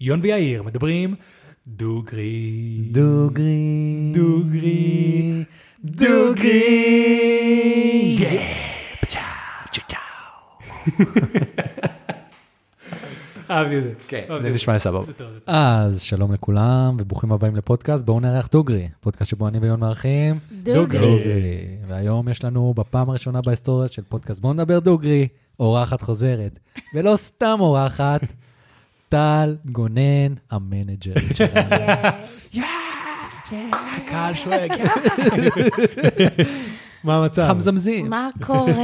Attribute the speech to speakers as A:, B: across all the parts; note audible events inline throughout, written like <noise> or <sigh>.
A: יון ויאיר מדברים דוגרי.
B: דוגרי.
A: דוגרי.
B: דוגרי. <laughs>
A: אהבתי את זה.
B: כן,
A: אהבתי
B: זה
A: את
B: נשמע לי סבבה.
A: זה טוב, זה טוב.
B: אז שלום לכולם וברוכים הבאים לפודקאסט, בואו נארח דוגרי, פודקאסט שבו אני ויון מארחים
A: דוגרי.
B: דוגרי. והיום יש לנו בפעם הראשונה בהיסטוריה של פודקאסט בואו נדבר דוגרי, אורחת חוזרת, ולא סתם אורחת, טל גונן המנג'ר. שלנו.
A: הקהל שואג. <laughs> מה המצב?
B: חמזמזים.
C: מה קורה?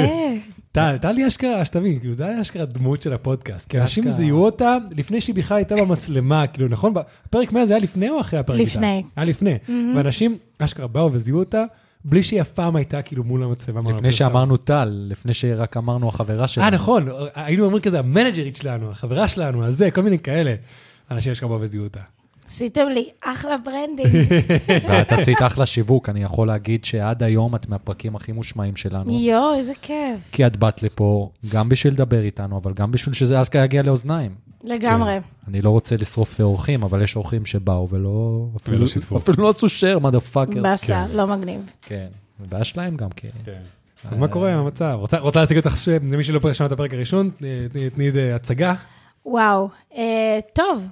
A: טל, טלי אשכרה, שתבין, כאילו, טלי אשכרה דמות של הפודקאסט. כי אנשים
B: אשכרה.
A: זיהו אותה לפני שהיא בכלל הייתה
B: <laughs>
A: במצלמה, כאילו, נכון? הפרק 100 זה היה לפני או אחרי הפרק איתה?
C: לפני.
A: היה לפני. ואנשים אשכרה באו וזיהו אותה, בלי שהיא אף פעם הייתה כאילו מול המצלמה. מול
B: לפני
A: הפרסה.
B: שאמרנו טל, לפני שרק אמרנו החברה שלנו.
A: אה, נכון, היינו אומרים כזה, המנג'רית שלנו, החברה שלנו, הזה, כל מיני כאלה. אנשים אשכרה באו וזיהו אותה.
C: עשיתם לי אחלה ברנדינג. כן.
B: ואת עשית אחלה שיווק, אני יכול להגיד שעד היום את מהפרקים הכי מושמעים שלנו.
C: יואו, איזה כיף.
B: כי את באת לפה גם בשביל לדבר איתנו, אבל גם בשביל שזה אשכרה יגיע לאוזניים.
C: לגמרי.
B: אני לא רוצה לשרוף אורחים, אבל יש אורחים שבאו ולא... אפילו-
A: שיתפו.
B: אפילו לא עשו share, מה דה פאקר.
C: באסה, לא מגניב.
B: כן, הבעיה שלהם גם כן.
A: אז מה קורה עם המצב? רוצה- רוצה להשיג אותך, ש- למי שלא פרק- שמע את הפרק הראשון, תני- תני- תני איזה הצגה.
C: וואו, אה, טוב,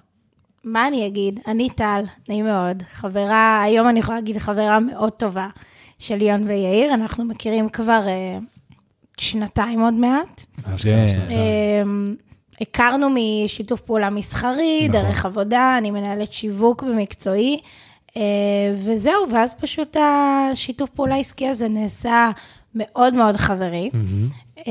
C: מה אני אגיד? אני טל, נעים מאוד, חברה, היום אני יכולה להגיד חברה מאוד טובה של יון ויאיר, אנחנו מכירים כבר אה, שנתיים עוד מעט.
B: כן.
C: אה, הכרנו משיתוף פעולה מסחרי,
A: נכון.
C: דרך עבודה, אני מנהלת שיווק במקצועי, אה, וזהו, ואז פשוט השיתוף פעולה העסקי הזה נעשה מאוד מאוד חברי. אה,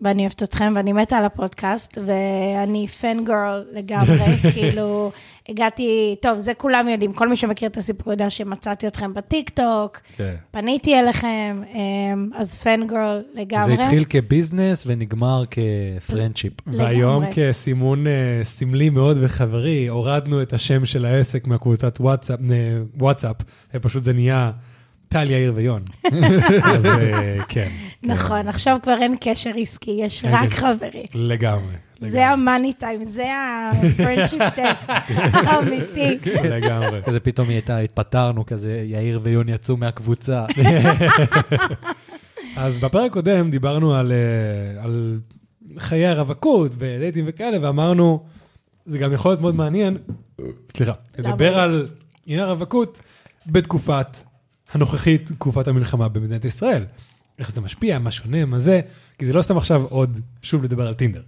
C: ואני אוהבת אתכם, ואני מתה על הפודקאסט, ואני פן גרל
B: <laughs>
C: לגמרי, כאילו, הגעתי, טוב, זה כולם יודעים, כל מי שמכיר את הסיפור יודע שמצאתי אתכם בטיקטוק,
A: כן.
C: פניתי אליכם, אה, אז פן גרל לגמרי.
B: זה התחיל כביזנס ונגמר כפרנצ'יפ.
C: לגמרי.
A: והיום כסימון אה, סמלי מאוד וחברי, הורדנו את השם של העסק מהקבוצת וואטסאפ, אה, וואטסאפ, ופשוט זה נהיה טל, יאיר ויון. אז אה, כן,
C: נכון, עכשיו כבר אין קשר עסקי, יש
A: אין
C: רק
A: קשר.
C: חברי.
A: לגמרי.
C: זה המאני טיים, זה
A: <laughs>
C: ה-friendship test
A: כן.
C: האמיתי.
A: לגמרי.
B: כזה פתאום היא הייתה, התפטרנו כזה, יאיר ויון יצאו
C: <laughs>
B: מהקבוצה.
A: אז בפרק קודם דיברנו על, אה, על חיי הרווקות ודייטים וכאלה, ואמרנו, זה גם יכול להיות מאוד מעניין, סליחה, לדבר
C: למה? לא?
A: על עניין הרווקות בתקופת הנוכחית, תקופת המלחמה במדינת ישראל. איך זה משפיע, מה שונה, מה זה, כי זה לא סתם עכשיו עוד שוב לדבר על טינדר. זה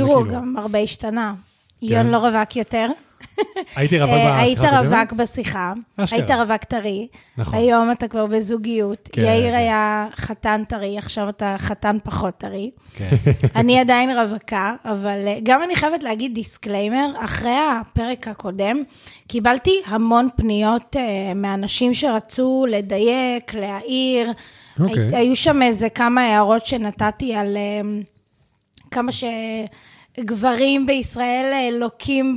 C: תראו,
A: כאילו,
C: גם הרבה השתנה. יון לא רווק יותר.
A: הייתי רווק
C: אה,
A: בשיחה
C: היית
A: הקודמת?
C: רווק בשיחה,
A: אשכרה.
C: היית רווק טרי.
A: נכון.
C: היום אתה כבר בזוגיות.
A: כן, כן.
C: יאיר היה חתן טרי, עכשיו אתה חתן פחות טרי.
B: כן.
C: <laughs> אני עדיין רווקה, אבל אה, גם אני חייבת להגיד דיסקליימר, אחרי הפרק הקודם, קיבלתי המון פניות אה, מאנשים שרצו לדייק, להעיר.
A: אוקיי.
C: הי- היו שם איזה כמה הערות שנתתי על אה, כמה שגברים בישראל אה, לוקים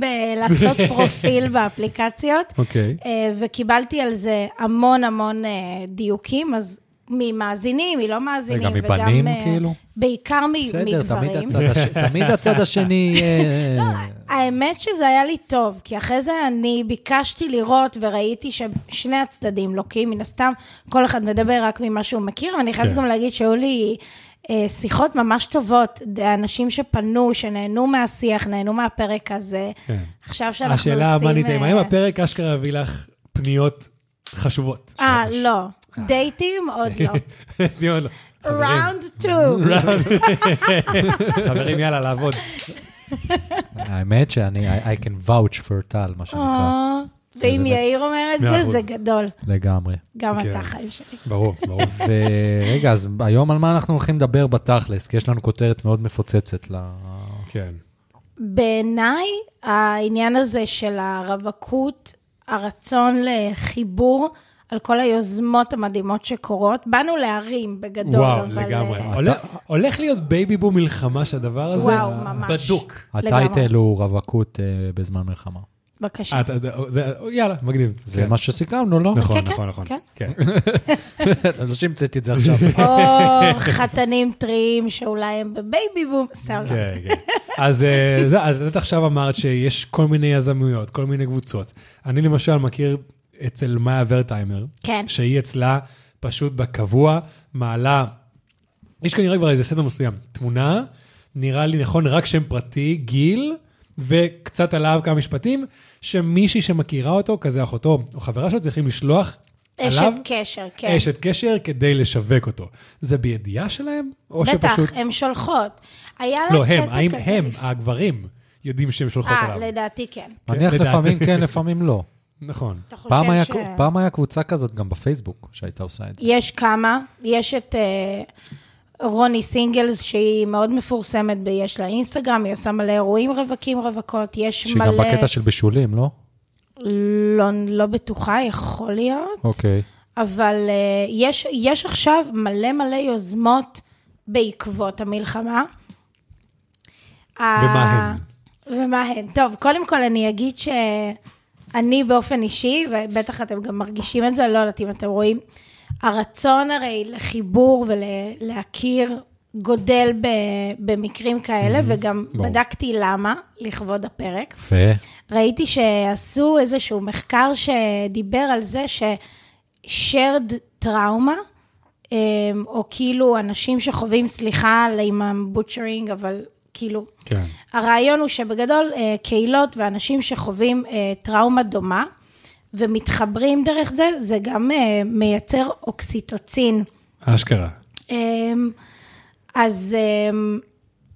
B: <laughs>
C: בלעשות פרופיל באפליקציות.
A: אוקיי.
C: אה, וקיבלתי על זה המון המון אה, דיוקים, אז ממאזינים, מלא מאזינים,
B: רגע, מבנים,
C: אה,
B: כאילו?
C: בעיקר מ-
B: בסדר, תמיד
C: מגברים. לא,
B: הצד הש- תמיד הצד השני... אה,
C: האמת שזה היה לי טוב, כי אחרי זה אני ביקשתי לראות וראיתי ששני הצדדים לוקים, מן הסתם כל אחד מדבר רק ממה שהוא מכיר, ואני חייבת
A: כן.
C: גם להגיד שהיו לי אה, שיחות ממש טובות, אנשים שפנו, שנהנו מהשיח, נהנו מהפרק הזה.
A: כן.
C: עכשיו שאנחנו עושים...
A: השאלה מה ניתן,
C: אה,
A: האם הפרק אשכרה הביא לך פניות חשובות?
C: אה,
A: <laughs>
C: לא. דייטים? עוד לא.
A: דיון, לא. כן. <laughs> חברים,
C: ראונד
A: <laughs>
C: 2.
A: חברים, יאללה, לעבוד.
B: האמת שאני, I I can vouch for טל, מה
C: אה.
B: שנקרא,
C: ואם יאיר אומר את
A: אה, מאה אחוז.
C: זה, זה גדול.
B: לגמרי.
C: גם
A: כן.
C: אתה חיים שלי.
A: ברור, ברור.
B: ורגע, אז היום על מה אנחנו הולכים לדבר בתכלס? כי יש לנו כותרת מאוד מפוצצת ל...
A: כן.
C: בעיניי, העניין הזה של הרווקות, הרצון לחיבור, על כל היוזמות המדהימות שקורות, באנו להרים בגדול,
A: וואו,
C: אבל...
A: לגמרי.
C: אה,
A: הולך- הולך להיות בייבי בום מלחמה שהדבר הזה,
C: וואו, ממש.
A: בדוק.
C: לגמרי.
B: הטייטל הוא רווקות אה, בזמן מלחמה.
C: בבקשה.
A: אה, אתה- זה- זה- יאללה, מגניב.
B: זה
A: כן.
B: מה שסיכמנו, לא? <laughs>
A: נכון,
C: כן,
A: נכון,
C: כן,
A: נכון.
C: כן.
A: כן.
B: לא שהמצאתי את
A: <laughs>
B: זה עכשיו.
C: או חתנים טריים שאולי הם בבייבי בום, סבבה.
A: כן, כן. אז, אה, זה- אז את עכשיו אמרת שיש כל מיני יזמויות, כל מיני קבוצות. אני למשל מכיר אצל מאיה ורטהיימר,
C: כן.
A: שהיא אצלה פשוט בקבוע, מעלה, יש כנראה כבר איזה סדר מסוים, תמונה, נראה לי נכון, רק שם פרטי, גיל, וקצת עליו כמה משפטים, שמישהי שמכירה אותו, כזה אחותו או חברה שלו, צריכים לשלוח עליו
C: אשת קשר, כן.
A: אשת קשר כדי לשווק אותו. זה בידיעה שלהם? או
C: בטח,
A: שפשוט...
C: הן שולחות. היה להם
A: לא,
C: אה, קטע
A: הם,
C: כזה.
A: האם הם,
C: לפ-
A: הגברים, יודעים שהם שולחות
C: אה,
A: עליו.
C: לדעתי כן.
B: מניח
A: לדעתי.
B: לפעמים כן, לפעמים לא.
A: נכון.
C: אתה חושב
B: פעם היה-
C: ש...
B: פעם היה קבוצה כזאת גם בפייסבוק שהייתה עושה את זה.
C: יש כמה, יש את אה, רוני סינגלס, שהיא מאוד מפורסמת, ב- יש לה אינסטגרם, היא עושה מלא אירועים רווקים, רווקות, יש
B: שהיא
C: מלא...
B: גם בקטע של בישולים, לא?
C: לא, לא בטוחה, יכול להיות,
B: אוקיי.
C: אבל אה, יש, יש עכשיו מלא מלא יוזמות בעקבות המלחמה.
A: ומה
C: הן? ומה הן? טוב, קודם כל אני אגיד שאני באופן אישי, ובטח אתם גם מרגישים את זה, לא יודעת אם אתם רואים, הרצון הרי לחיבור ולהכיר גודל ב, במקרים כאלה, וגם
A: ברור.
C: בדקתי למה, לכבוד הפרק.
B: יפה.
C: ראיתי שעשו איזשהו מחקר שדיבר על זה ש-shared trauma, אמ, או כאילו אנשים שחווים, סליחה על אם I'm butchering, אבל כאילו,
A: כן.
C: הרעיון הוא שבגדול אה, קהילות ואנשים שחווים אה, טראומה דומה ומתחברים דרך זה, זה גם אה, מייצר אוקסיטוצין.
A: אשכרה.
C: אמ, אז אמ,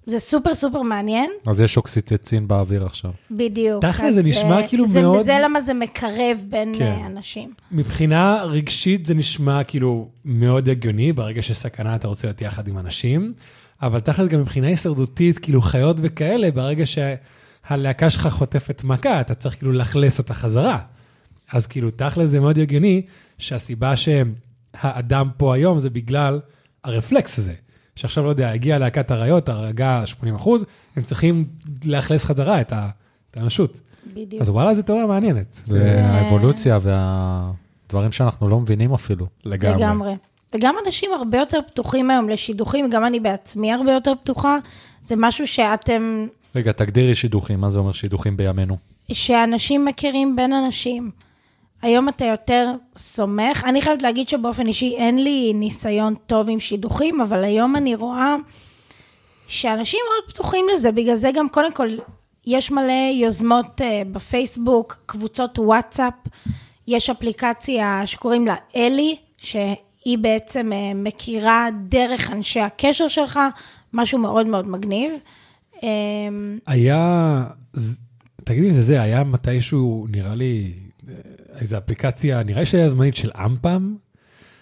C: זה סופר סופר מעניין.
B: אז יש אוקסיטצין באוויר עכשיו.
C: בדיוק.
A: תכל'ס,
C: אז,
A: זה נשמע
C: אה,
A: כאילו
C: זה,
A: מאוד-
C: זה למה זה מקרב בין
A: כן.
C: כן. אנשים.
A: מבחינה רגשית זה נשמע כאילו מאוד הגיוני, ברגע שיש סכנה אתה רוצה להיות יחד עם אנשים, אבל תכל'ס גם מבחינה הישרדותית, כאילו חיות וכאלה, ברגע שהלהקה שלך חוטפת מכה, אתה צריך כאילו לאכלס אותה חזרה. אז כאילו, תכל'ס זה מאוד הגיוני שהסיבה שהאדם פה היום זה בגלל הרפלקס הזה. שעכשיו, לא יודע, הגיעה להקת אריות, הרגה 80 אחוז, הם צריכים לאכלס חזרה את ה- את האנושות.
C: בדיוק.
A: אז וואלה, זו תיאוריה מעניינת.
B: זה האבולוציה והדברים שאנחנו לא מבינים אפילו.
C: לגמרי. וגם אנשים הרבה יותר פתוחים היום לשידוכים, גם אני בעצמי הרבה יותר פתוחה. זה משהו אמ, שאתם,
B: רגע, תגדירי שידוכים, מה זה אומר שידוכים בימינו?
C: שאנשים מכירים בין אנשים. היום אתה יותר סומך. אני חייבת להגיד שבאופן אישי אין לי ניסיון טוב עם שידוכים, אבל היום אני רואה שאנשים מאוד פתוחים לזה, בגלל זה גם קודם כל, יש מלא יוזמות אה, בפייסבוק, קבוצות וואטסאפ, יש אפליקציה שקוראים לה אלי, שהיא בעצם אה, מכירה דרך אנשי הקשר שלך, משהו מאוד מאוד מגניב. אה,
A: היה, ז- תגידי אם זה זה, היה מתישהו, נראה לי, אה, איזו אפליקציה, נראה לי שהיה זמנית של אמפם,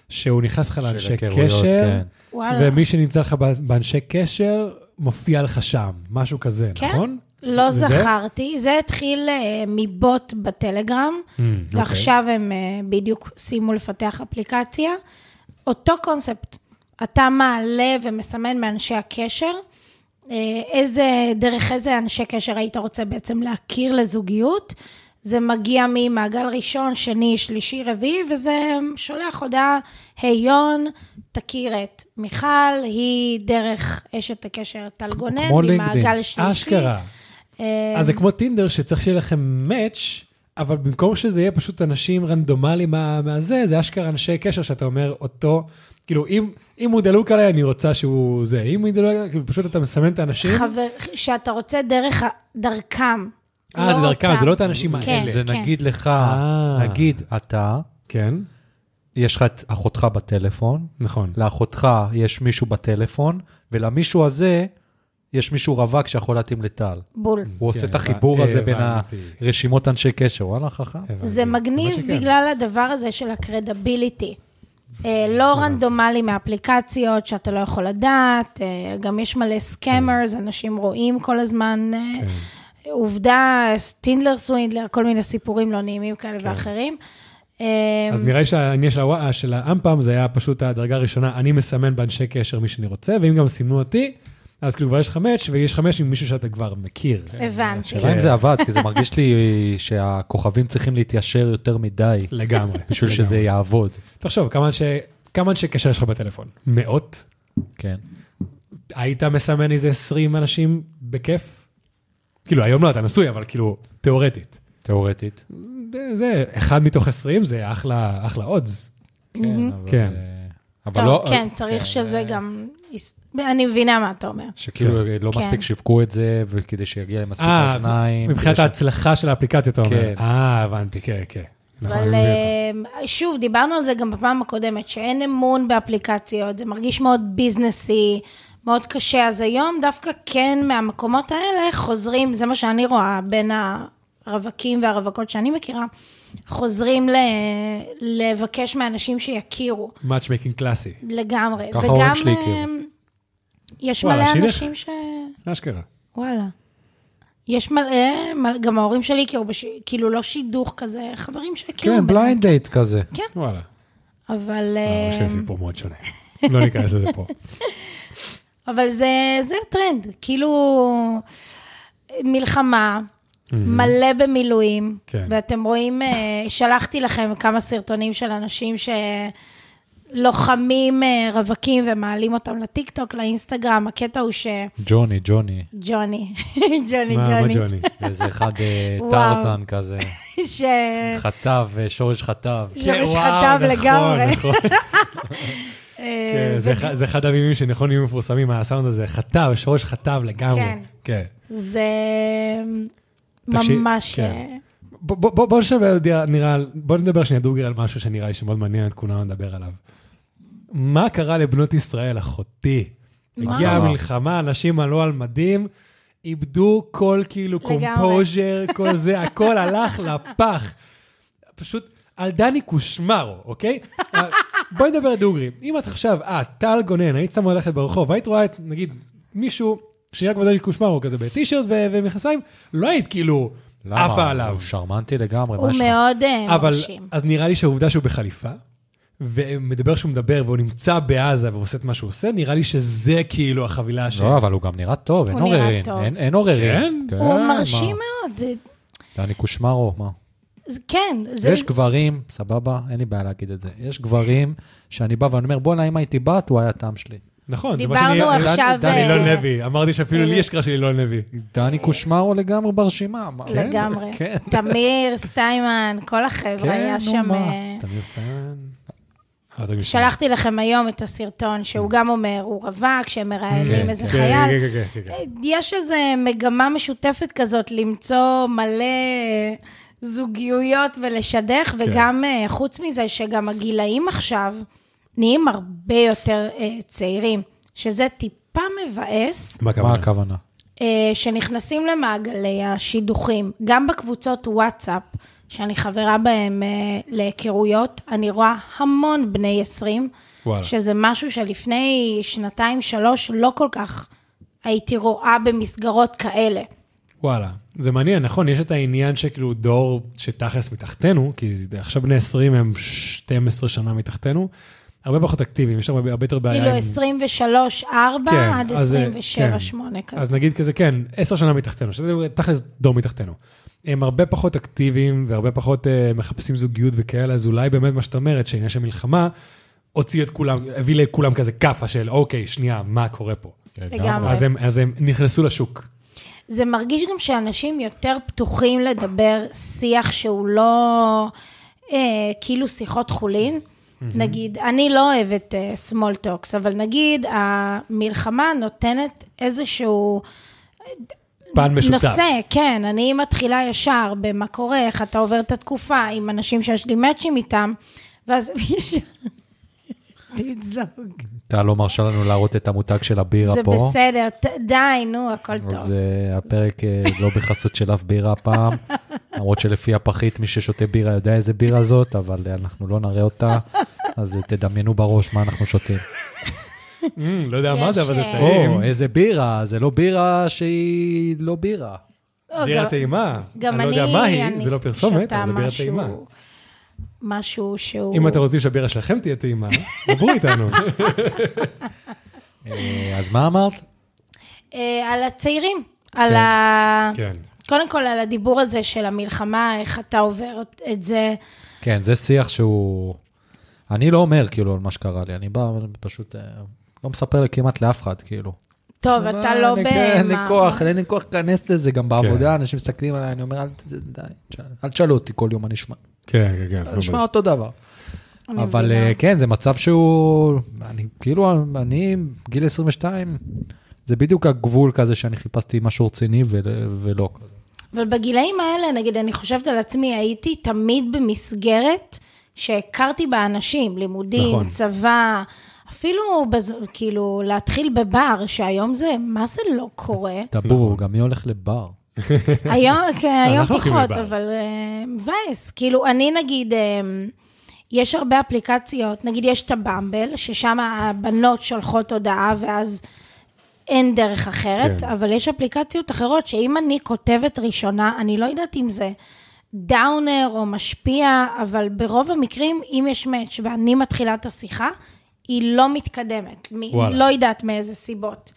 A: שהוא נכנס לך לאנשי
B: היכרויות,
A: קשר,
B: כן.
C: וואלה.
A: ומי שנמצא לך ב- באנשי קשר, מופיע לך שם, משהו כזה,
C: כן?
A: נכון?
C: לא
A: זה- זה זה?
C: זכרתי, זה התחיל אה, מבוט בטלגרם,
A: Mm, אוקיי.
C: ועכשיו הם אה, בדיוק סיימו לפתח אפליקציה. אותו קונספט, אתה מעלה ומסמן מאנשי הקשר, אה, איזה, דרך איזה אנשי קשר היית רוצה בעצם להכיר לזוגיות. זה מגיע ממעגל ראשון, שני, שלישי, רביעי, וזה שולח הודעה, היי יון, תכיר את מיכל, היא דרך אשת הקשר טל גונן,
B: כמו
C: ממעגל
B: לינקדאין.
C: שלישי.
A: אשכרה.
C: אה,
A: אז זה כמו טינדר שצריך שיהיה לכם מאץ', אבל במקום שזה יהיה פשוט אנשים רנדומליים מה- מהזה, זה אשכרה אנשי קשר שאתה אומר אותו, כאילו אם, אם הוא דלוק עליי, אני רוצה שהוא זה, אם הוא דלוק עליי, כאילו פשוט אתה מסמן את האנשים.
C: חבר, שאתה רוצה דרך, ה- דרכם.
A: אה, זה
C: לא
A: דרכם,
C: אותם.
A: זה לא את האנשים האלה.
C: כן,
B: זה
C: כן.
B: נגיד לך,
A: אה.
B: נגיד אתה,
A: כן,
B: יש לך את אחותך בטלפון,
A: נכון.
B: לאחותך יש מישהו בטלפון, ולמישהו הזה יש מישהו רווק שיכול להתאים לטל.
C: בול.
B: הוא
A: כן,
B: עושה את
A: הבנ-
B: החיבור הזה בין
A: הבנתי. כן.
B: הרשימות אנשי קשר, וואלה, חכם.
A: הבנתי.
C: זה מגניב
A: האמת שכן.
C: בגלל הדבר הזה של הקרדביליטי. אה, לא רנדומלי מאפליקציות שאתה לא יכול לדעת, אה, גם יש מלא סקמרס,
A: כן.
C: אנשים רואים כל הזמן. אה, עובדה, טינדלר סווינדלר, כל מיני סיפורים לא נעימים כאלה ואחרים. אה,
A: כן. אז נראה לי שהעניין של הוואאה, של האמפם, זה היה פשוט הדרגה הראשונה, אני מסמן באנשי קשר מי שאני רוצה, ואם גם סימנו אותי, אז כאילו כבר יש חמש, ויש חמש עם מישהו שאתה כבר מכיר.
C: הבנתי.
B: השאלה אם זה עבד, כי זה מרגיש לי שהכוכבים צריכים להתיישר יותר מדי
A: לגמרי.
B: בשביל
A: לגמרי.
B: שזה יעבוד.
A: תחשוב, כמה אנשי- כמה אנשי קשר יש לך בטלפון? מאות?
B: כן.
A: היית מסמן איזה 20 אנשים בכיף? כאילו, היום לא, אתה נשוי, אבל כאילו, תיאורטית.
B: תיאורטית.
A: זה- זה, אחד מתוך 20 זה אחלה, אחלה אודס.
B: כן, אבל...
A: כן.
B: אה, אבל לא...
C: טוב, כן, צריך
A: אה.
C: שזה גם... אני מבינה מה אתה אומר.
B: שכאילו לא
C: כן.
B: מספיק שיווקו את זה, וכדי שיגיע למספיק
A: אה,
B: אוזניים.
A: מבחינת
B: כדי ש-
A: ההצלחה של האפליקציה, אתה אומר.
B: כן.
A: אה, הבנתי, כן, כן. נכון, אני
C: אבל
A: מבין אותך.
C: אה, שוב, דיברנו על זה גם בפעם הקודמת, שאין אמון באפליקציות, זה מרגיש מאוד ביזנסי, מאוד קשה, אז היום דווקא כן מהמקומות האלה חוזרים, זה מה שאני רואה בין הרווקים והרווקות שאני מכירה, חוזרים ל... לבקש מאנשים שיכירו
A: מאצ'מקינג קלאסי,
C: לגמרי.
B: ככה ההורים
C: וגם,
B: שלי הכירו.
C: אה, יש
A: וואלה,
C: מלא
A: שילך.
C: אנשים ש...
A: אשכרה.
C: וואלה. יש מלא, מלא- גם ההורים שלי הכירו, בש- כאילו לא שידוך כזה, חברים
A: כאילו,
C: שהכירו.
B: כן,
C: ביניהם.
B: בליינד דייט כזה.
A: וואלה.
C: אבל,
A: אה,
C: אמ,
A: יש סיפור מאוד
C: <laughs>
A: שונה. לא ניכנס לזה פה.
C: אבל זה, זה הטרנד, כאילו מלחמה, מלא במילואים,
A: כן.
C: ואתם רואים, אה, שלחתי לכם כמה סרטונים של אנשים שלוחמים אה, רווקים ומעלים אותם לטיקטוק, לאינסטגרם, הקטע הוא שג'וני, <laughs>
B: ג'וני, ג'וני.
C: ג'וני, ג'וני,
A: מה מה ג'וני?
B: איזה אחד אה,
C: <laughs> וואו.
B: טרזן כזה.
C: <laughs> ש...
B: חטב, אה, שורש חטב.
C: זה
A: וואו,
C: משחטב
A: נכון,
C: לא, לגמרי.
A: נכון.
C: אה,
A: כן, זה אחד- זה אחד המימים שנכון יהיו מפורסמים, מהסאונד הזה, חטב, שורש חטב לגמרי.
C: כן.
A: כן.
C: זה
A: תקשיב,
C: ממש...
A: כן.
C: אה,
A: בוא- בוא בוא נשווה, יודע, נראה, על- בוא נדבר שנייה דוגרי על משהו שנראה לי שמאוד מעניין את כולנו לדבר עליו. מה קרה לבנות ישראל, אחותי?
C: מה?
A: הגיעה המלחמה, אנשים עלו על מדים, איבדו כל כאילו
C: לגמרי.
A: קומפוז'ר, כל
C: <laughs>
A: זה, הכל הלך לפח. פשוט על דני קושמרו, אוקיי? אה, בואי נדבר דוגרי. אם את עכשיו, אה, טל גונן, היית שמה הולכת ברחוב, והיית רואה את, נגיד, מישהו שנראה כמו דני קושמרו כזה בטישרט ו- ומכנסיים, לא היית כאילו
B: <laughs> למה?
A: עפה עליו.
B: הוא שרמנטי לגמרי,
C: הוא
B: מה יש לך?
C: מאוד אה,
A: לא. אבל,
C: מרשים.
A: אז נראה לי שהעובדה שהוא בחליפה, ומדבר שהוא מדבר, והוא נמצא בעזה ועושה את מה שהוא עושה, נראה לי שזה כאילו החבילה ש...
B: לא, אבל הוא גם נראה טוב, אין
C: הוא נראה
B: עוררין.
C: טוב.
B: אין- אין עוררין.
A: כן?
C: הוא
B: מה?
C: מרשים מאוד, זה-
B: דני קושמרו, מה?
C: זה- כן, זה...
B: יש גברים, סבבה, אין לי בעיה להגיד את זה. יש גברים שאני בא ואני אומר, בואנה, אם הייתי בת, הוא היה טעם שלי.
A: נכון, זה מה שאני...
C: דיברנו
A: דני-
C: עכשיו...
A: דני
C: אה,
A: אילון לוי, אמרתי שאפילו לי
C: אה,
A: יש קרש של אילון לוי.
B: דני קושמרו לגמרי ברשימה. מה?
C: לגמרי.
B: כן.
C: תמיר, סטיימן, כל החבר'ה
B: כן,
C: היה
B: נו,
C: שם...
B: מה?
C: אה,
A: תמיר סטיין. אה, אתה מש-
C: שלחתי לכם היום את הסרטון שהוא גם אומר, הוא רווק, שהם מראיינים
B: כן,
C: איזה
A: כן,
C: חייל.
A: כן, כן, כן, כן.
C: אה, יש איזו מגמה משותפת כזאת למצוא מלא אה, זוגיות ולשדך,
B: כן.
C: וגם אה, חוץ מזה שגם הגילאים עכשיו נהיים הרבה יותר אה, צעירים, שזה טיפה מבאס.
A: מה
B: מה
A: הכוונה?
B: הכוונה?
C: אה, שנכנסים למעגלי השידוכים, גם בקבוצות וואטסאפ, שאני חברה בהן אה, להיכרויות, אני רואה המון בני 20,
A: וואלה.
C: שזה משהו שלפני שנתיים, שלוש, לא כל כך הייתי רואה במסגרות כאלה.
A: אה, וואלה, זה מעניין, נכון, יש את העניין שכאילו דור שתכלס מתחתנו, כי עכשיו בני 20 הם 12 שנה מתחתנו, הרבה פחות אקטיביים, יש הרבה הרבה יותר בעיה
C: כאילו
A: עם-
C: 23, 4
A: כן,
C: עד
A: אז זה-
C: 27,
A: כן.
C: 8
A: אז
C: כזה.
A: נגיד כזה, כן, עשר שנה מתחתנו, שזה תכלס דור מתחתנו. הם הרבה פחות אקטיביים והרבה פחות אה, מחפשים זוגיות וכאלה, אז אולי באמת מה שאת אומרת, שעניין של מלחמה, הוציא את כולם, הביא לכולם כזה כאפה של, אוקיי, שנייה, מה קורה פה?
C: לגמרי.
A: אז הם, אז הם נכנסו לשוק.
C: זה מרגיש גם שאנשים יותר פתוחים לדבר שיח שהוא לא אה, כאילו שיחות חולין. נגיד, אני לא אוהבת אה, small talks, אבל נגיד המלחמה נותנת איזשהו
A: פן משותף.
C: נושא, כן, אני מתחילה ישר במה קורה, איך אתה עובר את התקופה, עם אנשים שיש לי מאצ'ים איתם, ואז <laughs> מישהו... תתזוג.
B: טל לא מרשה לנו להראות את המותג של
A: לא
B: הבירה
C: זה
B: פה.
C: בסדר, ת- די, נו, הכל טוב.
B: אז אה, הפרק אה, לא בחסות של אף בירה
C: <laughs>
B: הפעם, למרות שלפי הפחית, מי ששותה בירה יודע איזה בירה זאת, אבל אה, אנחנו לא נראה אותה, אז אה, תדמיינו בראש מה אנחנו שותים.
A: Mm, לא יודע מה זה, אבל זה
C: יש, אה,
A: טעים. אוקיי.
B: או, איזה בירה, זה לא בירה שהיא לא בירה.
C: או,
A: בירה
C: לא, גם-
A: טעימה.
C: גם
A: אני
C: אני,
A: לא יודע מה היא,
C: אני
A: זה לא פרסומת,
C: שותה
A: אבל זה בירה
C: משהו-
A: טעימה.
C: משהו שהוא...
A: אם אתם רוצים שהבירה שלכם תהיה <laughs> כן, טעימה, דברו איתנו.
B: אה, אז מה אמרת?
C: אה, על הצעירים, על ה...
A: כן.
C: קודם כל, על הדיבור הזה של המלחמה, איך אתה עובר את זה.
B: כן, זה שיח שהוא... אני לא אומר, כאילו, על מה שקרה לי, אני בא, אבל פשוט אה, לא מספר כמעט לאף אחד, כאילו.
C: טוב, אתה
B: אבל
C: לא
B: אני- כן,
C: ב...
B: אין לי
C: מה-
B: כוח, אין לי כוח להיכנס לזה, גם בעבודה, אנשים מסתכלים עליי, אני אומר, "אל ת- די, תשאל- אל תשאלו אותי כל יום, אני אשמע.
A: כן, כן,
C: אה,
A: כן. אנחנו
B: נשמע אותו דבר.
C: אני
B: אבל
C: מבינה.
B: אה, כן, זה מצב שהוא, אני כאילו, אני, גיל 22, זה בדיוק הגבול כזה שאני חיפשתי משהו רציני ול- ולא כזה.
C: אבל בגילאים האלה, נגיד, אני חושבת על עצמי, הייתי תמיד במסגרת שהכרתי בה אנשים, לימודים,
A: נכון.
C: נכון. צבא, אפילו, בז... כאילו, להתחיל בבר, שהיום זה, מה זה לא קורה?
B: טבור, גם מי הולך לבר?
C: היום, כן, היום
A: אנחנו הולכים
C: פחות,
A: לבר.
C: אבל אה, מבאס. כאילו, אני נגיד, אה, יש הרבה אפליקציות, נגיד יש את הבמבל, ששם הבנות שולחות הודעה ואז אין דרך אחרת,
A: כן.
C: כן. אבל יש אפליקציות אחרות שאם אני כותבת ראשונה, אני לא יודעת אם זה דאונר או משפיע, אבל ברוב המקרים, אם יש מאץ' ואני מתחילה את השיחה, היא לא מתקדמת. מ-
A: וואלה.
C: לא יודעת מאיזה סיבות.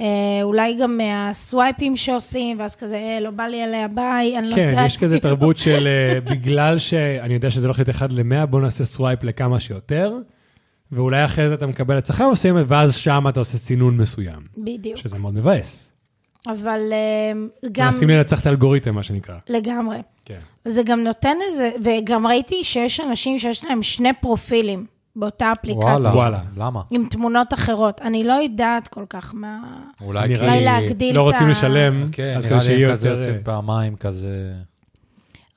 C: אה, אולי גם מהסווייפים שעושים, ואז כזה, אה, לא בא לי אליה, ביי, אני לא
A: כן,
C: יודעת.
A: יש כזה תרבות של אה, בגלל שאני יודע שזה לא הולך להיות 1 ל-100, בוא נעשה סווייפ לכמה שיותר, ואולי אחרי זה אתה מקבל הצלחה מסוימת, ואז שם אתה עושה סינון מסוים,
C: <laughs> בדיוק.
A: שזה מאוד מבאס.
C: אבל אה, גם...
A: מנסים לנצח את האלגוריתם, מה שנקרא.
C: לגמרי.
A: כן.
C: זה גם נותן איזה, וגם ראיתי שיש אנשים שיש להם שני פרופילים באותה אפליקציה,
A: וואלה.
B: למה?
C: עם תמונות אחרות. אני לא יודעת כל כך מה...
B: אולי
A: נראה
B: כי...
A: לי-
C: אולי להגדיל את ה...
A: לא רוצים לשלם,
B: כן,
A: אז כדי
B: נראה לי
A: שיהיה
B: הם כזה אה,
A: יותר... אה,
B: עושים פעמיים כזה...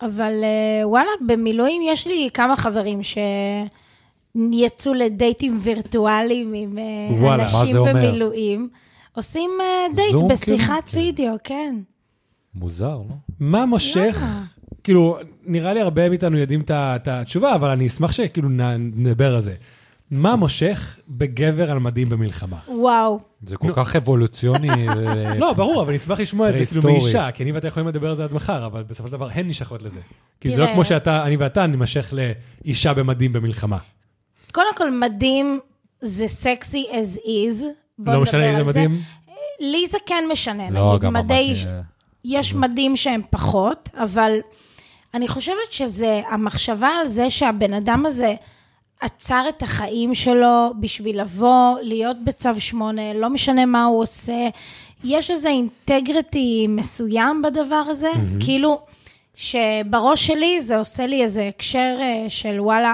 C: אבל אה, וואלה, במילואים יש לי כמה חברים שיצאו לדייטים וירטואליים עם אה,
A: וואלה,
B: מה זה
C: אנשים
B: אומר?
C: במילואים. עושים אה, דייט
B: זום,
C: בשיחת
B: כאילו?
C: וידאו, כן.
B: מוזר, לא?
A: מה מושך? כאילו, נראה לי הרבה מאיתנו יודעים את ה- את התשובה, אבל אני אשמח שכאילו נ- נדבר על זה. מה מושך בגבר על מדים במלחמה?
C: וואו.
B: זה כל כך <laughs> אבולוציוני. אה, ו-
A: לא, ברור, אבל אני אשמח לשמוע את זה כאילו
B: פרה-היסטורי.
A: מאישה, כי אני ואתה יכולים לדבר על זה עד מחר, אבל בסופו של דבר הן נשכות לזה. כי זה לא
C: תראה.
A: כמו שאתה, אני ואתה נימשך לאישה במדים במלחמה.
C: קודם כל, מדהים זה סקסי as is. בוא
A: לא
C: נדבר
A: משנה אם זה
C: על
A: מדהים.
C: לי זה כן משנה,
B: לא,
C: נגיד,
B: גם
C: מדי...
B: אמרתי... אה,
C: יש מדים שהם פחות, אבל אני חושבת שזה, המחשבה על זה שהבן אדם הזה עצר את החיים שלו בשביל לבוא, להיות בצו שמונה, לא משנה מה הוא עושה, יש איזה אינטגריטי מסוים בדבר הזה, mm-hmm. כאילו שבראש שלי זה עושה לי איזה הקשר אה, של וואלה,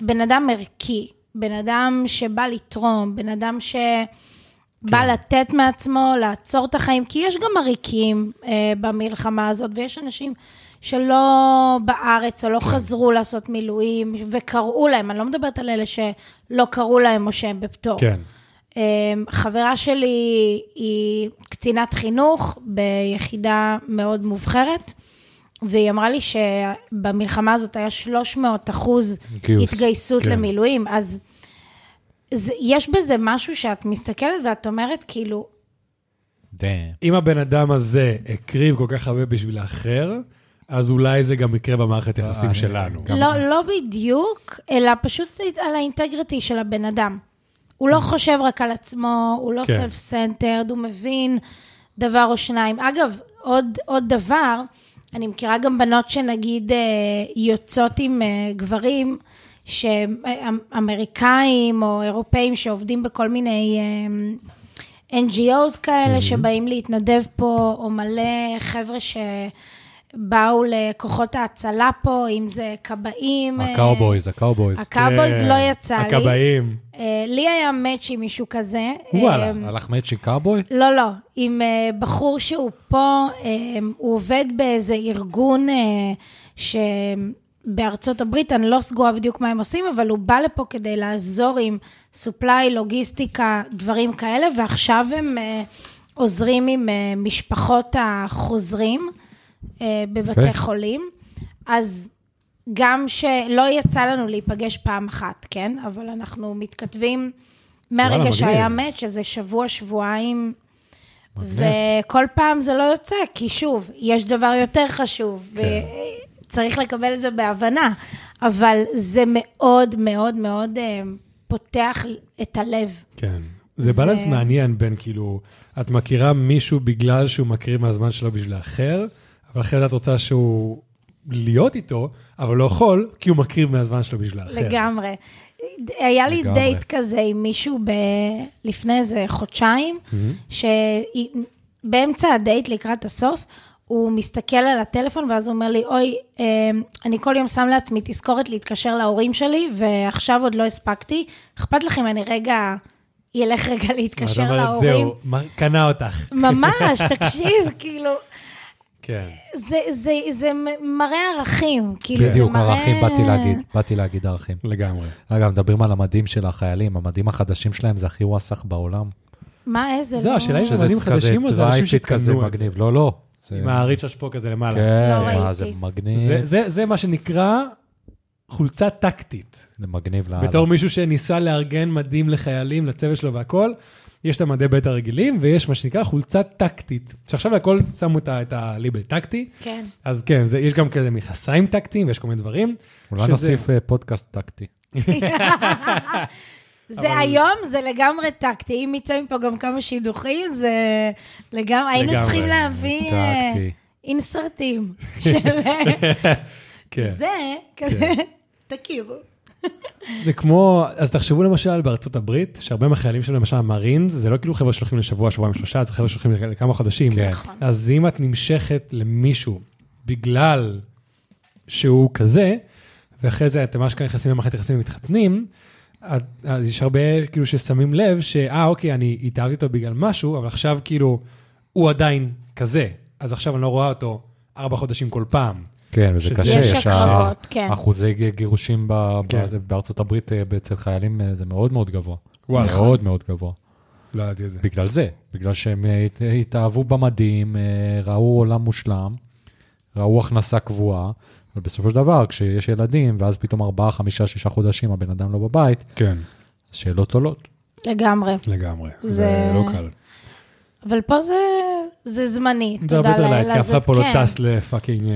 C: בן אדם ערכי, בן אדם שבא לתרום, בן אדם ש... בא לתת מעצמו, לעצור את החיים, כי יש גם עריקים אה, במלחמה הזאת, ויש אנשים שלא בארץ או לא כן. חזרו לעשות מילואים, וקראו להם, אני לא מדברת על אלה שלא קראו להם או שהם בפטור.
A: כן.
C: אה, חברה שלי היא קצינת חינוך ביחידה מאוד מובחרת, והיא אמרה לי שבמלחמה הזאת היה 300 אחוז
B: גיוס.
C: התגייסות
A: כן.
C: כן. למילואים, אז זה, יש בזה משהו שאת מסתכלת ואת אומרת, כאילו, אה,
B: דאם.
A: אם הבן אדם הזה הקריב כל כך הרבה בשביל האחר, אז אולי זה גם יקרה במערכת יחסים
B: אה, אני-
A: שלנו.
B: גם-
C: לא, לא בדיוק, אלא פשוט זה על האינטגריטי של הבן אדם. הוא לא חושב רק על עצמו, הוא לא
A: כן.
C: סלף סנטרד, הוא מבין דבר או שניים. אגב, עוד, עוד דבר, אני מכירה גם בנות שנגיד אה, יוצאות עם אה, גברים שהם אה, אמריקאים או אירופאים שעובדים בכל מיני אה, NGOs כאלה, שבאים להתנדב פה, או מלא חבר'ה ש... באו לכוחות ההצלה פה, אם זה כבאים. אה,
B: הקאובויז, הקאובויז.
C: הקאובויז
A: כן.
C: לא יצא לי.
A: הכבאים.
C: אה, לי היה מאץ' עם מישהו כזה.
A: וואלה,
C: אה,
B: הלך מאצ'ינג קאובוי?
C: לא, לא, עם אה, בחור שהוא פה, אה, הוא עובד באיזה ארגון אה, שבארצות הברית, אני לא סגורה בדיוק מה הם עושים, אבל הוא בא לפה כדי לעזור עם supply, לוגיסטיקה, דברים כאלה, ועכשיו הם אה, עוזרים עם אה, משפחות החוזרים אה, בבתי
B: יפה.
C: חולים. אז גם שלא יצא לנו להיפגש פעם אחת, כן? אבל אנחנו מתכתבים
A: וואלה,
C: מהרגע שהיה
A: מגניב.
C: מאץ', שזה שבוע, שבועיים, וכל פעם זה לא יוצא, כי שוב, יש דבר יותר חשוב,
A: כן.
C: וצריך לקבל את זה בהבנה, אבל זה מאוד מאוד מאוד אה, פותח את הלב.
A: כן. זה בלנס
C: זה-
A: מעניין בין כאילו, את מכירה מישהו בגלל שהוא מקריב מהזמן שלו בשביל האחר, אבל אחרת את רוצה שהוא להיות איתו, אבל לא יכול, כי הוא מקריב מהזמן שלו בשביל האחר.
C: לגמרי. היה לי
B: לגמרי.
C: דייט כזה עם מישהו ב... לפני איזה חודשיים,
A: Mm-hmm.
C: שבאמצע הדייט, לקראת הסוף, הוא מסתכל על הטלפון, ואז הוא אומר לי, אוי, אה, אני כל יום שם לעצמי תזכורת להתקשר להורים שלי, ועכשיו עוד לא הספקתי. אכפת לך אם אני רגע, ילך רגע להתקשר
A: ואת אומרת,
C: להורים?
A: זהו, מה- קנה אותך. <laughs>
C: ממש, תקשיב, כאילו,
A: כן.
C: זה, זה, זה מראה ערכים, כאילו, זה מראה...
B: בדיוק, ערכים, באתי להגיד, באתי להגיד ערכים.
A: <laughs> לגמרי.
B: אגב, מדברים על המדים של החיילים, המדים החדשים שלהם זה הכי וואסך בעולם.
C: מה, איזה לא...
A: זהו, השאלה היא
B: שזה
A: מדהים חדשים או זה אנשים
B: דרייפיט
A: שקנו
B: כזה
A: את זה?
B: מגניב. לא, לא. זה-
A: עם הריצ'ש פה כזה למעלה.
B: כן,
C: לא
B: מה,
C: ראיתי.
B: זה מגניב.
A: זה- זה- זה מה שנקרא חולצה טקטית.
B: זה מגניב לאללה.
A: בתור מישהו שניסה לארגן מדים לחיילים, לצוות שלו והכול, יש את המדי בית הרגילים ויש מה שנקרא חולצה טקטית. שעכשיו לכל שמו את ה- את הליבל טקטי,
C: כן.
A: אז כן, זה- יש גם כאלה מכסיים טקטיים ויש כל מיני דברים.
B: אולי
A: שזה-
B: נוסיף אה, פודקאסט טקטי.
C: זה היום, זה לגמרי טקטי. אם יצא מפה גם כמה שידוכים, זה לגמרי... היינו
A: לגמרי,
C: צריכים להביא אה,
B: טקטי.
A: <laughs>
C: אינסרטים של אה,
A: כן.
C: זה, כזה, תכירו.
A: זה כמו, אז תחשבו למשל בארצות הברית, שהרבה מהחיילים שלהם, למשל המרינס, זה לא כאילו חבר'ה שהולכים לשבוע, שבועיים, שלושה, זה חבר'ה שהולכים לכמה חודשים.
B: כן.
C: נכון.
A: אז אם את נמשכת למישהו בגלל שהוא כזה, ואחרי זה אתם אשכרה נכנסים למערכת יחסים ומתחתנים, אז- אז יש הרבה כאילו ששמים לב שאה, אוקיי, אני התאהבתי אותו בגלל משהו, אבל עכשיו כאילו, הוא עדיין כזה, אז עכשיו אני לא רואה אותו ארבע חודשים כל פעם.
B: כן, וזה
A: שזה-
B: קשה.
A: יש
B: ה-
C: הקרבות, כן.
B: אחוזי ג- גירושים ב- ב-
A: כן.
B: בארצות הברית אה, אצל חיילים אה, זה מאוד מאוד גבוה.
A: וואלה.
B: מאוד מאוד גבוה.
A: לא ידעתי את זה.
B: בגלל זה, בגלל שהם אה, הת- התאהבו במדים, אה, ראו עולם מושלם, ראו הכנסה קבועה, אבל בסופו של דבר, כשיש ילדים, ואז פתאום ארבעה, חמישה, שישה חודשים הבן אדם לא בבית,
A: כן,
B: אז שאלות עולות.
C: לגמרי.
A: לגמרי.
C: זה זה- לא קל. אבל פה זה, זה זמני.
A: זה הרבה
C: תודה
A: יותר
C: לאל,
A: לייט, כי אף
C: אז
A: אחד פה לא
C: כן.
A: טס לפאקינג אה,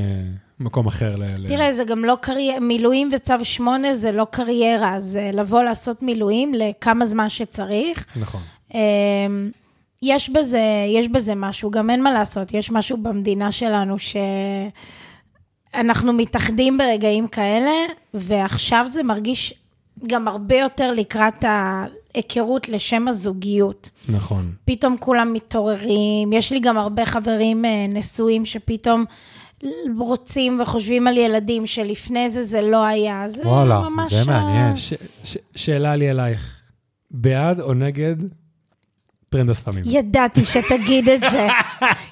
A: מקום אחר. ל- ל-
C: תראה, זה גם לא קריירה, מילואים וצו 8 זה לא קריירה, זה לבוא לעשות מילואים לכמה זמן שצריך.
A: נכון.
C: אמ, יש בזה, יש בזה משהו, גם אין מה לעשות, יש משהו במדינה שלנו שאנחנו מתאחדים ברגעים כאלה, ועכשיו זה מרגיש גם הרבה יותר לקראת ההיכרות לשם הזוגיות.
A: נכון.
C: פתאום כולם מתעוררים, יש לי גם הרבה חברים אה, נשואים שפתאום רוצים וחושבים על ילדים שלפני זה זה לא היה, זה
B: וואלה,
C: ממש...
B: זה
C: ה-
B: מעניין.
A: ש- ש- שאלה לי אלייך, בעד או נגד טרנד השפמים?
C: ידעתי שתגיד את
A: <laughs>
C: זה.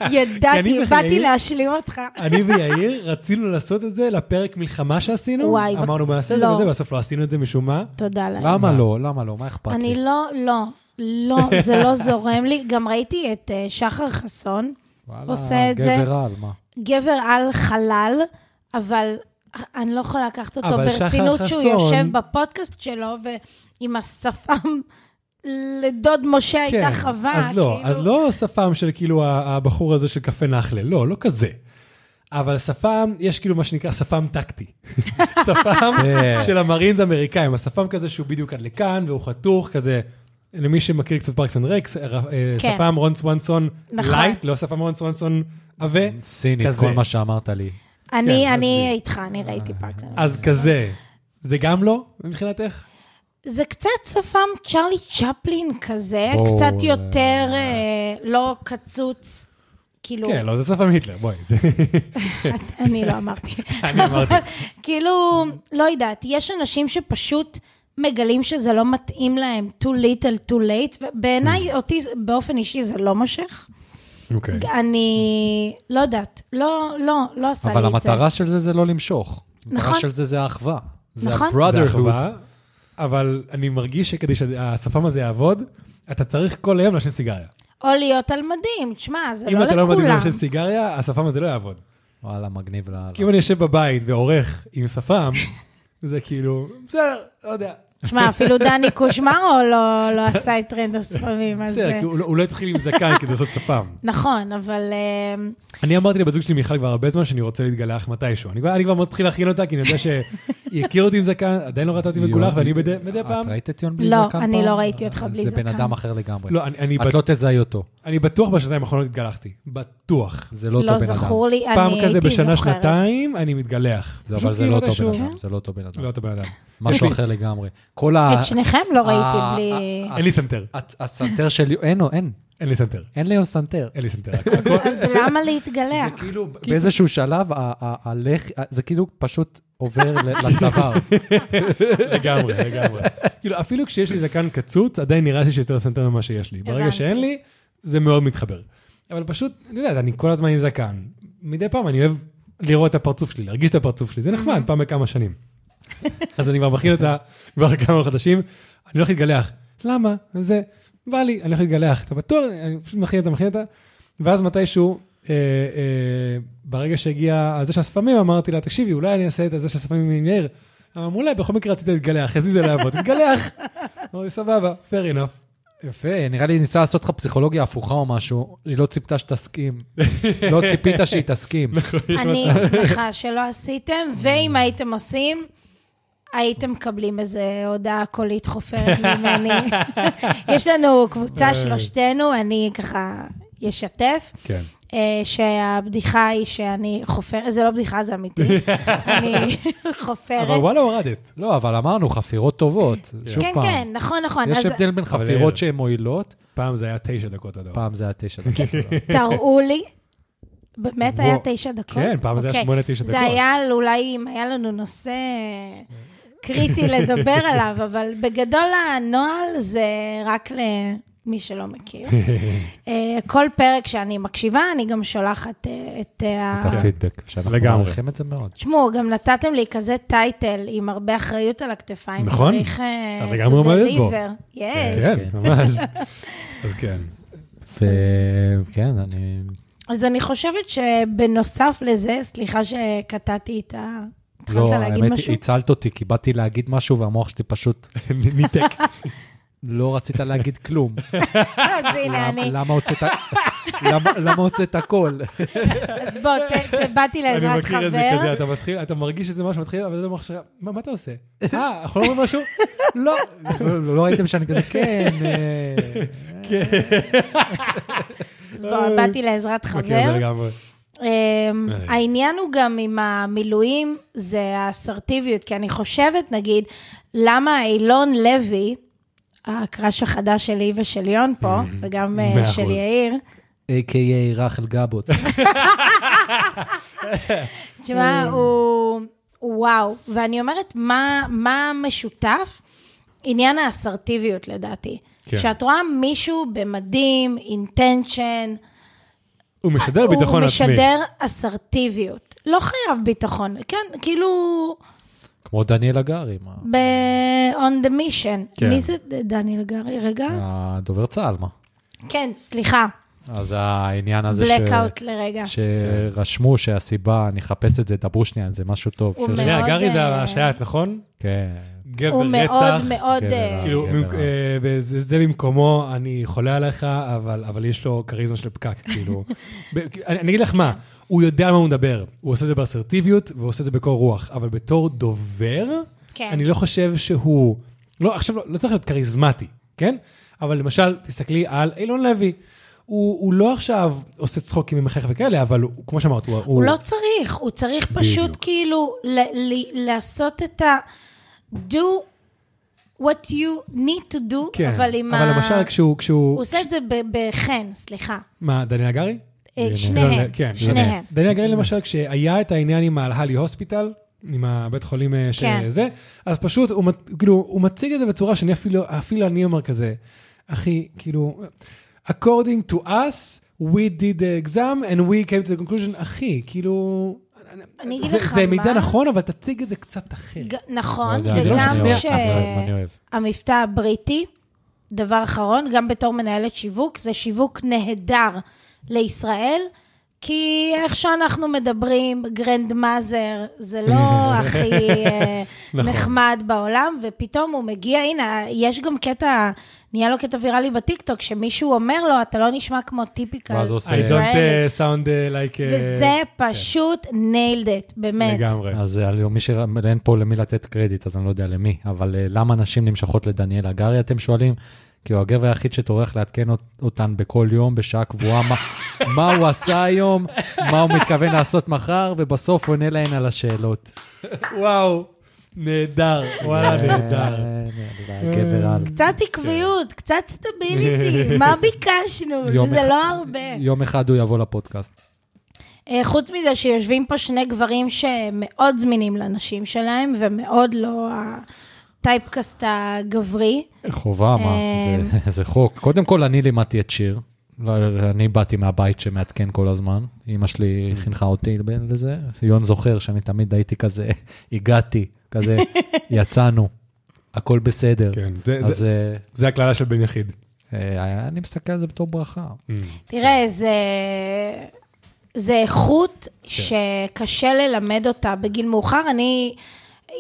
A: אני
C: ידעתי, באתי
A: ויאיר-
C: להשלים אותך.
A: אני ויאיר רצינו לעשות את זה לפרק מלחמה שעשינו,
C: וואי, ו-
A: אמרנו נעשה את זה
C: לא.
A: וזה, בסוף לא עשינו את זה משום מה.
C: תודה להם.
B: למה לא? למה לא? מה אכפת לי?
C: אה, אני לא, לא, לא, זה
A: <laughs>
C: לא זורם לי. גם ראיתי את אה, שחר חסון,
B: וואלה,
C: לא עושה את זה.
B: גבר על, מה?
C: גבר על חלל, אבל אני לא יכולה לקחת אותו
A: אבל שחר
C: ברצינות שהוא
A: חסון-
C: יושב בפודקאסט שלו, ועם השפם לדוד משה הייתה חווה,
A: אז לא,
C: כאילו.
A: אז לא שפם של כאילו ה- הבחור הזה של קפה נחלה, לא, לא כזה. אבל שפם, יש כאילו מה שנקרא שפם
C: <laughs>
A: טקטי. שפם
B: כן.
A: של המרינז האמריקאים, השפם כזה שהוא בדיוק עד לכאן, והוא חתוך כזה. למי שמכיר קצת פארקס אנד רקס, אה,
C: כן.
A: שפם רון סוונסון
C: נכון.
A: לייט, לא שפם רון סוונסון עבה,
B: סינית,
A: כזה.
B: כל מה שאמרת לי.
C: אני,
A: כן,
C: אני
A: אז- אה,
C: איתך, אני ראיתי לא פרקס.
A: אז כזה. זה גם לא, מבחינתך?
C: זה קצת שפם צ'רלי צ'פלין כזה,
B: בואו,
C: קצת
B: אה,
C: יותר אה, לא קצוץ, כאילו,
A: כן, לא, זה שפם היטלר, בואי. זה- <laughs>
C: אני לא אמרתי.
A: אני
C: <laughs>
A: אמרתי.
C: כאילו, לא יודעת, יש אנשים שפשוט מגלים שזה לא מתאים להם, too little, too late,
A: כן.
C: ובעיניי, אותי זה- באופן אישי זה לא מושך.
A: אוקיי.
C: אני לא יודעת, לא, לא, לא עשה לי את
B: אבל
C: זה.
B: המטרה של זה זה לא למשוך. המטרה
C: נכון.
B: של זה זה האחווה. זה
C: נכון.
A: זה
B: ה-brotherhood.
A: אחווה, אבל אני מרגיש שכדי שהשפם הזה יעבוד, אתה צריך כל היום לעשן סיגריה.
C: או להיות על מדים, תשמע, זה לא
A: אם אתה לא מדהים
C: לכולם.
A: לעשן סיגריה, השפם הזה לא יעבוד.
B: וואלה, מגניב לאללה.
A: כי אם אני יושב בבית ועורך עם
C: <laughs>
A: שפם, זה כאילו, בסדר, לא יודע.
C: תשמע,
A: <laughs>
C: אפילו דני קושמרו לא, לא עשה את טרנד הספמים, אז...
A: בסדר,
C: אה,
A: כי הוא לא- הוא לא התחיל עם זקן כדי לעשות
C: <laughs>
A: שפם.
C: נכון, אבל אה,
A: אני אמרתי לבת זוג שלי מיכל כבר הרבה זמן שאני רוצה להתגלח מתישהו. אני כבר אני כבר מתחיל להכין אותה, כי אני יודע שהיא הכירה אותי עם זקן, עדיין לא ראתה אותי מגולח, ואני מדי מדי פעם...
B: את ראית את יון בלי
C: לא,
B: זקן פעם?
C: אני לא ראיתי אותך בלי
B: זה בן
C: זקן.
B: אדם אחר לגמרי.
A: לא, אני- אני...
B: את לא תזהי אותו.
A: אני בטוח בשנתיים האחרונות התגלחתי. בטוח.
B: זה לא אותו בן
C: לא
B: אדם.
C: זכור לי, אני הייתי
A: פעם
C: זוכרת.
A: כזה בשנה, שנתיים, אני מתגלח.
B: זה- אבל
A: פשוט
B: זה
C: כאילו
A: כי
B: לא אותו
A: מתישהו-
B: בן אדם, זה לא אותו בן אדם.
A: לא אותו בן אדם.
B: משהו
A: יש לי-
B: אחר לגמרי. כל ה...
C: את שניכם לא ראיתי
B: אה,
C: בלי...
B: אה,
A: אין לי סנטר.
B: הצ- הסנטר שלי, אין, או, אין,
A: אין לי סנטר.
B: אין לי סנטר.
A: אין לי סנטר.
C: אז- אז למה להתגלח?
B: כאילו, באיזשהו שלב, ה- ה- הלחי, זה כאילו פשוט עובר
A: <laughs>
B: ל- לצוואר.
A: לגמרי, לגמרי. כאילו, אפילו כשיש לי זקן קצוץ, עדיין נראה שיש יותר סנטר ממה שיש לי. ברגע
C: הבנתי.
A: שאין לי, זה מאוד מתחבר. אבל פשוט, את יודעת, אני כל הזמן עם זקן. מדי פעם אני אוהב לראות את הפרצוף שלי, להרגיש את הפרצוף שלי, זה נחמד, פעם בכמה שנים. אז אני כבר מכין אותה כבר כמה חודשים, אני הולך להתגלח. למה? זה, בא לי, אני הולך להתגלח. אתה בטוח? אני פשוט מכין אותה, מכין אותה. ואז מתישהו, אה, אה, ברגע שהגיע הזה של השפמים, אמרתי לה, תקשיבי, אולי אני אעשה את הזה של השפמים עם יאיר. אמרו לה, בכל מקרה רציתי להתגלח, אז אם זה לא יעבוד,
B: <laughs>
A: תתגלח. אמרתי, סבבה, fair enough.
B: יפה, נראה לי ניסה לעשות לך פסיכולוגיה הפוכה או משהו, היא לא
A: <laughs>
B: ציפתה שתסכים. לא ציפית שהיא תסכים.
C: אני שמחה שלא עשיתם, ואם הייתם עושים, הייתם מקבלים איזו הודעה קולית חופרת
B: <laughs>
C: ממני. יש לנו
B: אה.
C: קבוצה, שלושתנו, אני ככה אשתף.
A: כן.
C: אה, שהבדיחה היא שאני חופרת, זה לא בדיחה,
B: <laughs>
C: זה אמיתי. אני
A: אבל
C: חופרת.
A: וואלה, הורדת.
B: לא, אבל אמרנו, חפירות טובות. שוב
C: כן,
B: פעם.
C: כן, נכון, נכון.
B: יש
C: אז
B: הבדל בין
A: אבל
B: חפירות
A: אה,
B: שהן מועילות,
A: פעם זה היה תשע דקות הדבר.
B: פעם זה היה תשע דקות.
C: כן. תראו לי. באמת היה
A: וואו.
C: תשע דקות?
A: כן, פעם זה היה
C: אוקיי.
A: שמונה, תשע
C: זה
A: דקות.
C: היה על- אולי אם היה לנו נושא קריטי לדבר
A: <laughs>
C: עליו, אבל בגדול הנוהל זה רק למי שלא
A: <laughs>
C: מכיר. אה, כל פרק שאני מקשיבה, אני גם שולחת אה, את ה...
B: את הפידבק, שאנחנו
A: כן. לגמרי.
B: מעריכים את זה מאוד.
C: תשמעו, גם נתתם לי כזה טייטל עם הרבה אחריות על הכתפיים.
A: נכון.
C: צריך אה,
A: אתה לגמרי עומדת בו.
C: יס.
A: כן,
B: כן.
A: ממש.
B: <laughs>
A: אז כן.
B: וכן, כן, אני...
C: אז אני חושבת שבנוסף לזה, סליחה שקטעתי את ה...
B: לא,
C: התחלת להגיד
B: האמת, היא-
C: משהו?
B: הצלת אותי, כי באתי להגיד משהו והמוח שלי פשוט
A: <laughs> ניתק.
B: לא רצית להגיד כלום.
C: אה, אז
A: <laughs>
C: הנה
B: למ-
A: לא.
C: אני.
B: למה הוצאת... למה- למה הוצאת הכל?
C: אז בוא, ת- ת- באתי
A: אני
C: לעזרת
A: מכיר את זה כזה,
C: חבר.
A: אתה מתחיל, אתה מרגיש שזה משהו מתחיל, אבל זה מוח שלך, מה מה אתה עושה? אה, אנחנו לא אומרים משהו? <laughs> לא.
B: לא לא ראיתם שאני כזה, כן, אה,
C: אז בוא, באתי לעזרת
A: מכיר את זה
C: חבר.
A: לגמרי. אה.
C: אמ, העניין הוא גם עם המילואים, זה האסרטיביות, כי אני חושבת, נגיד, למה אילון לוי, הקראש החדש שלי ושל יון פה, וגם אה,
A: מאה
C: של
A: אחוז.
C: יאיר,
B: A.K.A. רחל
C: <laughs>
B: גבות.
A: אה.
C: תשמע, הוא הוא וואו. ואני אומרת, מה מה משותף? עניין האסרטיביות, לדעתי.
A: כן.
C: כשאת רואה מישהו במדים, אינטנשן,
A: הוא משדר ביטחון עצמי.
C: אה, הוא משדר אסרטיביות. לא חייב ביטחון, כן, כאילו...
B: כמו דניאל הגרי, מה?
C: ב-on the mission.
A: כן. אה.
C: מי זה דניאל גרי? רגע.
B: הדובר צה"ל, מה?
C: כן, סליחה.
B: אז העניין הזה ש...
C: blackout לרגע.
B: שרשמו שהסיבה, אני אחפש את זה, דברו שנייה, זה משהו טוב.
C: הוא
B: ש-
C: מאוד-
A: שנייה, גרי זה
C: אה,
A: השייט, נכון?
B: כן.
A: גבר
C: הוא מאוד
A: רצח.
C: מאוד...
B: גבר
C: אה,
B: רע.
A: כאילו,
B: גבר
A: במק-
B: רע.
A: אה, וזה- זה במקומו, אני חולה עליך, אבל אבל יש לו כריזמה של פקק,
C: <laughs>
A: כאילו. ב- כי- אני אני אגיד לך מה, הוא יודע על מה הוא מדבר. הוא עושה את זה באסרטיביות, והוא עושה את זה בקור רוח, אבל בתור דובר,
C: כן.
A: אני לא חושב שהוא... לא, עכשיו לא, לא צריך להיות כריזמטי, כן? אבל למשל, תסתכלי על אילון לוי. הוא, הוא לא עכשיו עושה צחוקים ממחייך וכאלה, אבל הוא, כמו שאמרת, הוא...
C: הוא לא צריך, הוא צריך פשוט
A: בדיוק.
C: כאילו ל- ל- לעשות את ה... do what you need to do,
A: כן,
C: אבל עם
A: אבל
C: ה...
A: למשל, כשהוא... כשהוא
C: הוא עושה את זה ב- בחן, סליחה.
A: מה, דניאל גרי?
C: אה,
A: לא,
C: שניהם,
A: לא, כן,
C: שניהם.
A: דניאל גרי למשל, כשהיה את העניין עם ההלי הוספיטל, עם הבית חולים אה,
C: כן.
A: שזה, אז פשוט, הוא מת- כאילו, הוא מציג את זה בצורה שאני אפילו, אפילו אני אומר כזה, אחי, כאילו, according to us, we did the exam and we came to the conclusion, אחי, כאילו...
C: אני אגיד
A: זה-
C: לך
A: זה
C: מה.
A: מידע נכון, אבל תציג את זה קצת אחרת.
C: ג- נכון,
B: לא יודע,
A: זה לא
C: וגם
A: משנה,
C: ש...
B: אני אוהב, אני אוהב.
C: המבטא הבריטי, דבר אחרון, גם בתור מנהלת שיווק, זה שיווק נהדר לישראל, כי איך שאנחנו מדברים, גרנד מאזר, זה לא
A: <laughs>
C: הכי אה,
A: נכון.
C: נחמד בעולם, ופתאום הוא מגיע, הנה, יש גם קטע, נהיה לו קטע ויראלי בטיקטוק, שמישהו אומר לו, אתה לא נשמע כמו טיפיקל
B: ואז הוא
A: I
B: עושה-
A: don't
C: ישראלי.
A: uh, sound uh, like... uh,
C: וזה פשוט nailed it, באמת.
A: לגמרי.
B: אז אה, מי ש... אין פה למי לתת קרדיט, אז אני לא יודע למי, אבל אה, למה נשים נמשכות לדניאל הגרי, אתם שואלים? כאילו, הגבר היחיד שטורח לעדכן אות- אותן בכל יום, בשעה קבועה, מה, מה הוא עשה היום, מה הוא מתכוון לעשות מחר, ובסוף עונה להן על השאלות.
A: וואו, נהדר, וואלה, נהדר.
B: אה. אה, נהדר, גבר על.
C: קצת
A: כן.
C: עקביות, קצת סטביליטי,
A: <laughs>
C: מה ביקשנו?
B: יום
C: זה
B: אחד.
C: לא הרבה.
B: יום אחד הוא יבוא לפודקאסט.
C: אה, חוץ מזה שיושבים פה שני גברים שמאוד זמינים לנשים שלהם, ומאוד לא הטייפקאסט הגברי.
B: חובה, מה?
C: אה.
B: זה- זה חוק. קודם כל, אני לימדתי את שיר. לא, לא, אני באתי מהבית שמעדכן כל הזמן. אימא שלי
A: Mm.
B: חינכה אותי בין לזה. יון זוכר שאני תמיד הייתי כזה, הגעתי,
C: <laughs>
B: כזה, יצאנו, הכל בסדר.
A: כן, זה-
B: אז אה,
A: זה הקללה של בן יחיד.
B: אה, אני מסתכל על זה בתור ברכה.
C: תראה, זה... זה איכות שקשה ללמד אותה בגיל מאוחר. אני,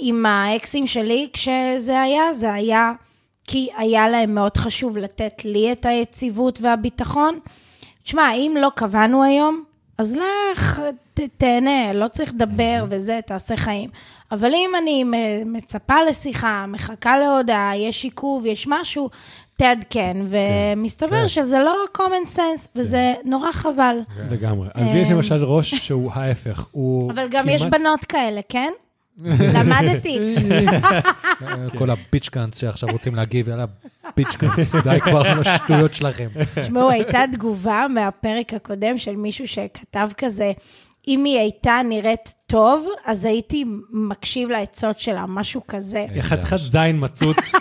C: עם האקסים שלי, כשזה היה, זה היה כי היה להם מאוד חשוב לתת לי את היציבות והביטחון. תשמע, אם לא קבענו היום, אז לך, ת, תהנה, לא צריך לדבר וזה, תעשה חיים. אבל אם אני מ- מצפה לשיחה, מחכה להודעה, יש עיכוב, יש משהו, תעדכן. ומסתבר שזה לא common sense, וזה נורא חבל.
B: כן.
A: לגמרי. אז לי יש למשל ראש שהוא ההפך, הוא
C: אמ. אבל גם יש
A: כמעט-
C: בנות כאלה,
A: <laughs>
C: כן? למדתי.
A: כן.
B: כל הביצ'קאנס שעכשיו רוצים להגיב, יאללה, ביצ'קאנס, די כבר עם
A: <laughs>
B: השטויות שלכם.
C: תשמעו, הייתה תגובה מהפרק הקודם של מישהו שכתב כזה, אם היא הייתה נראית טוב, אז הייתי מקשיב לעצות שלה, משהו כזה.
B: כן.
A: חתיכת זין מצוץ,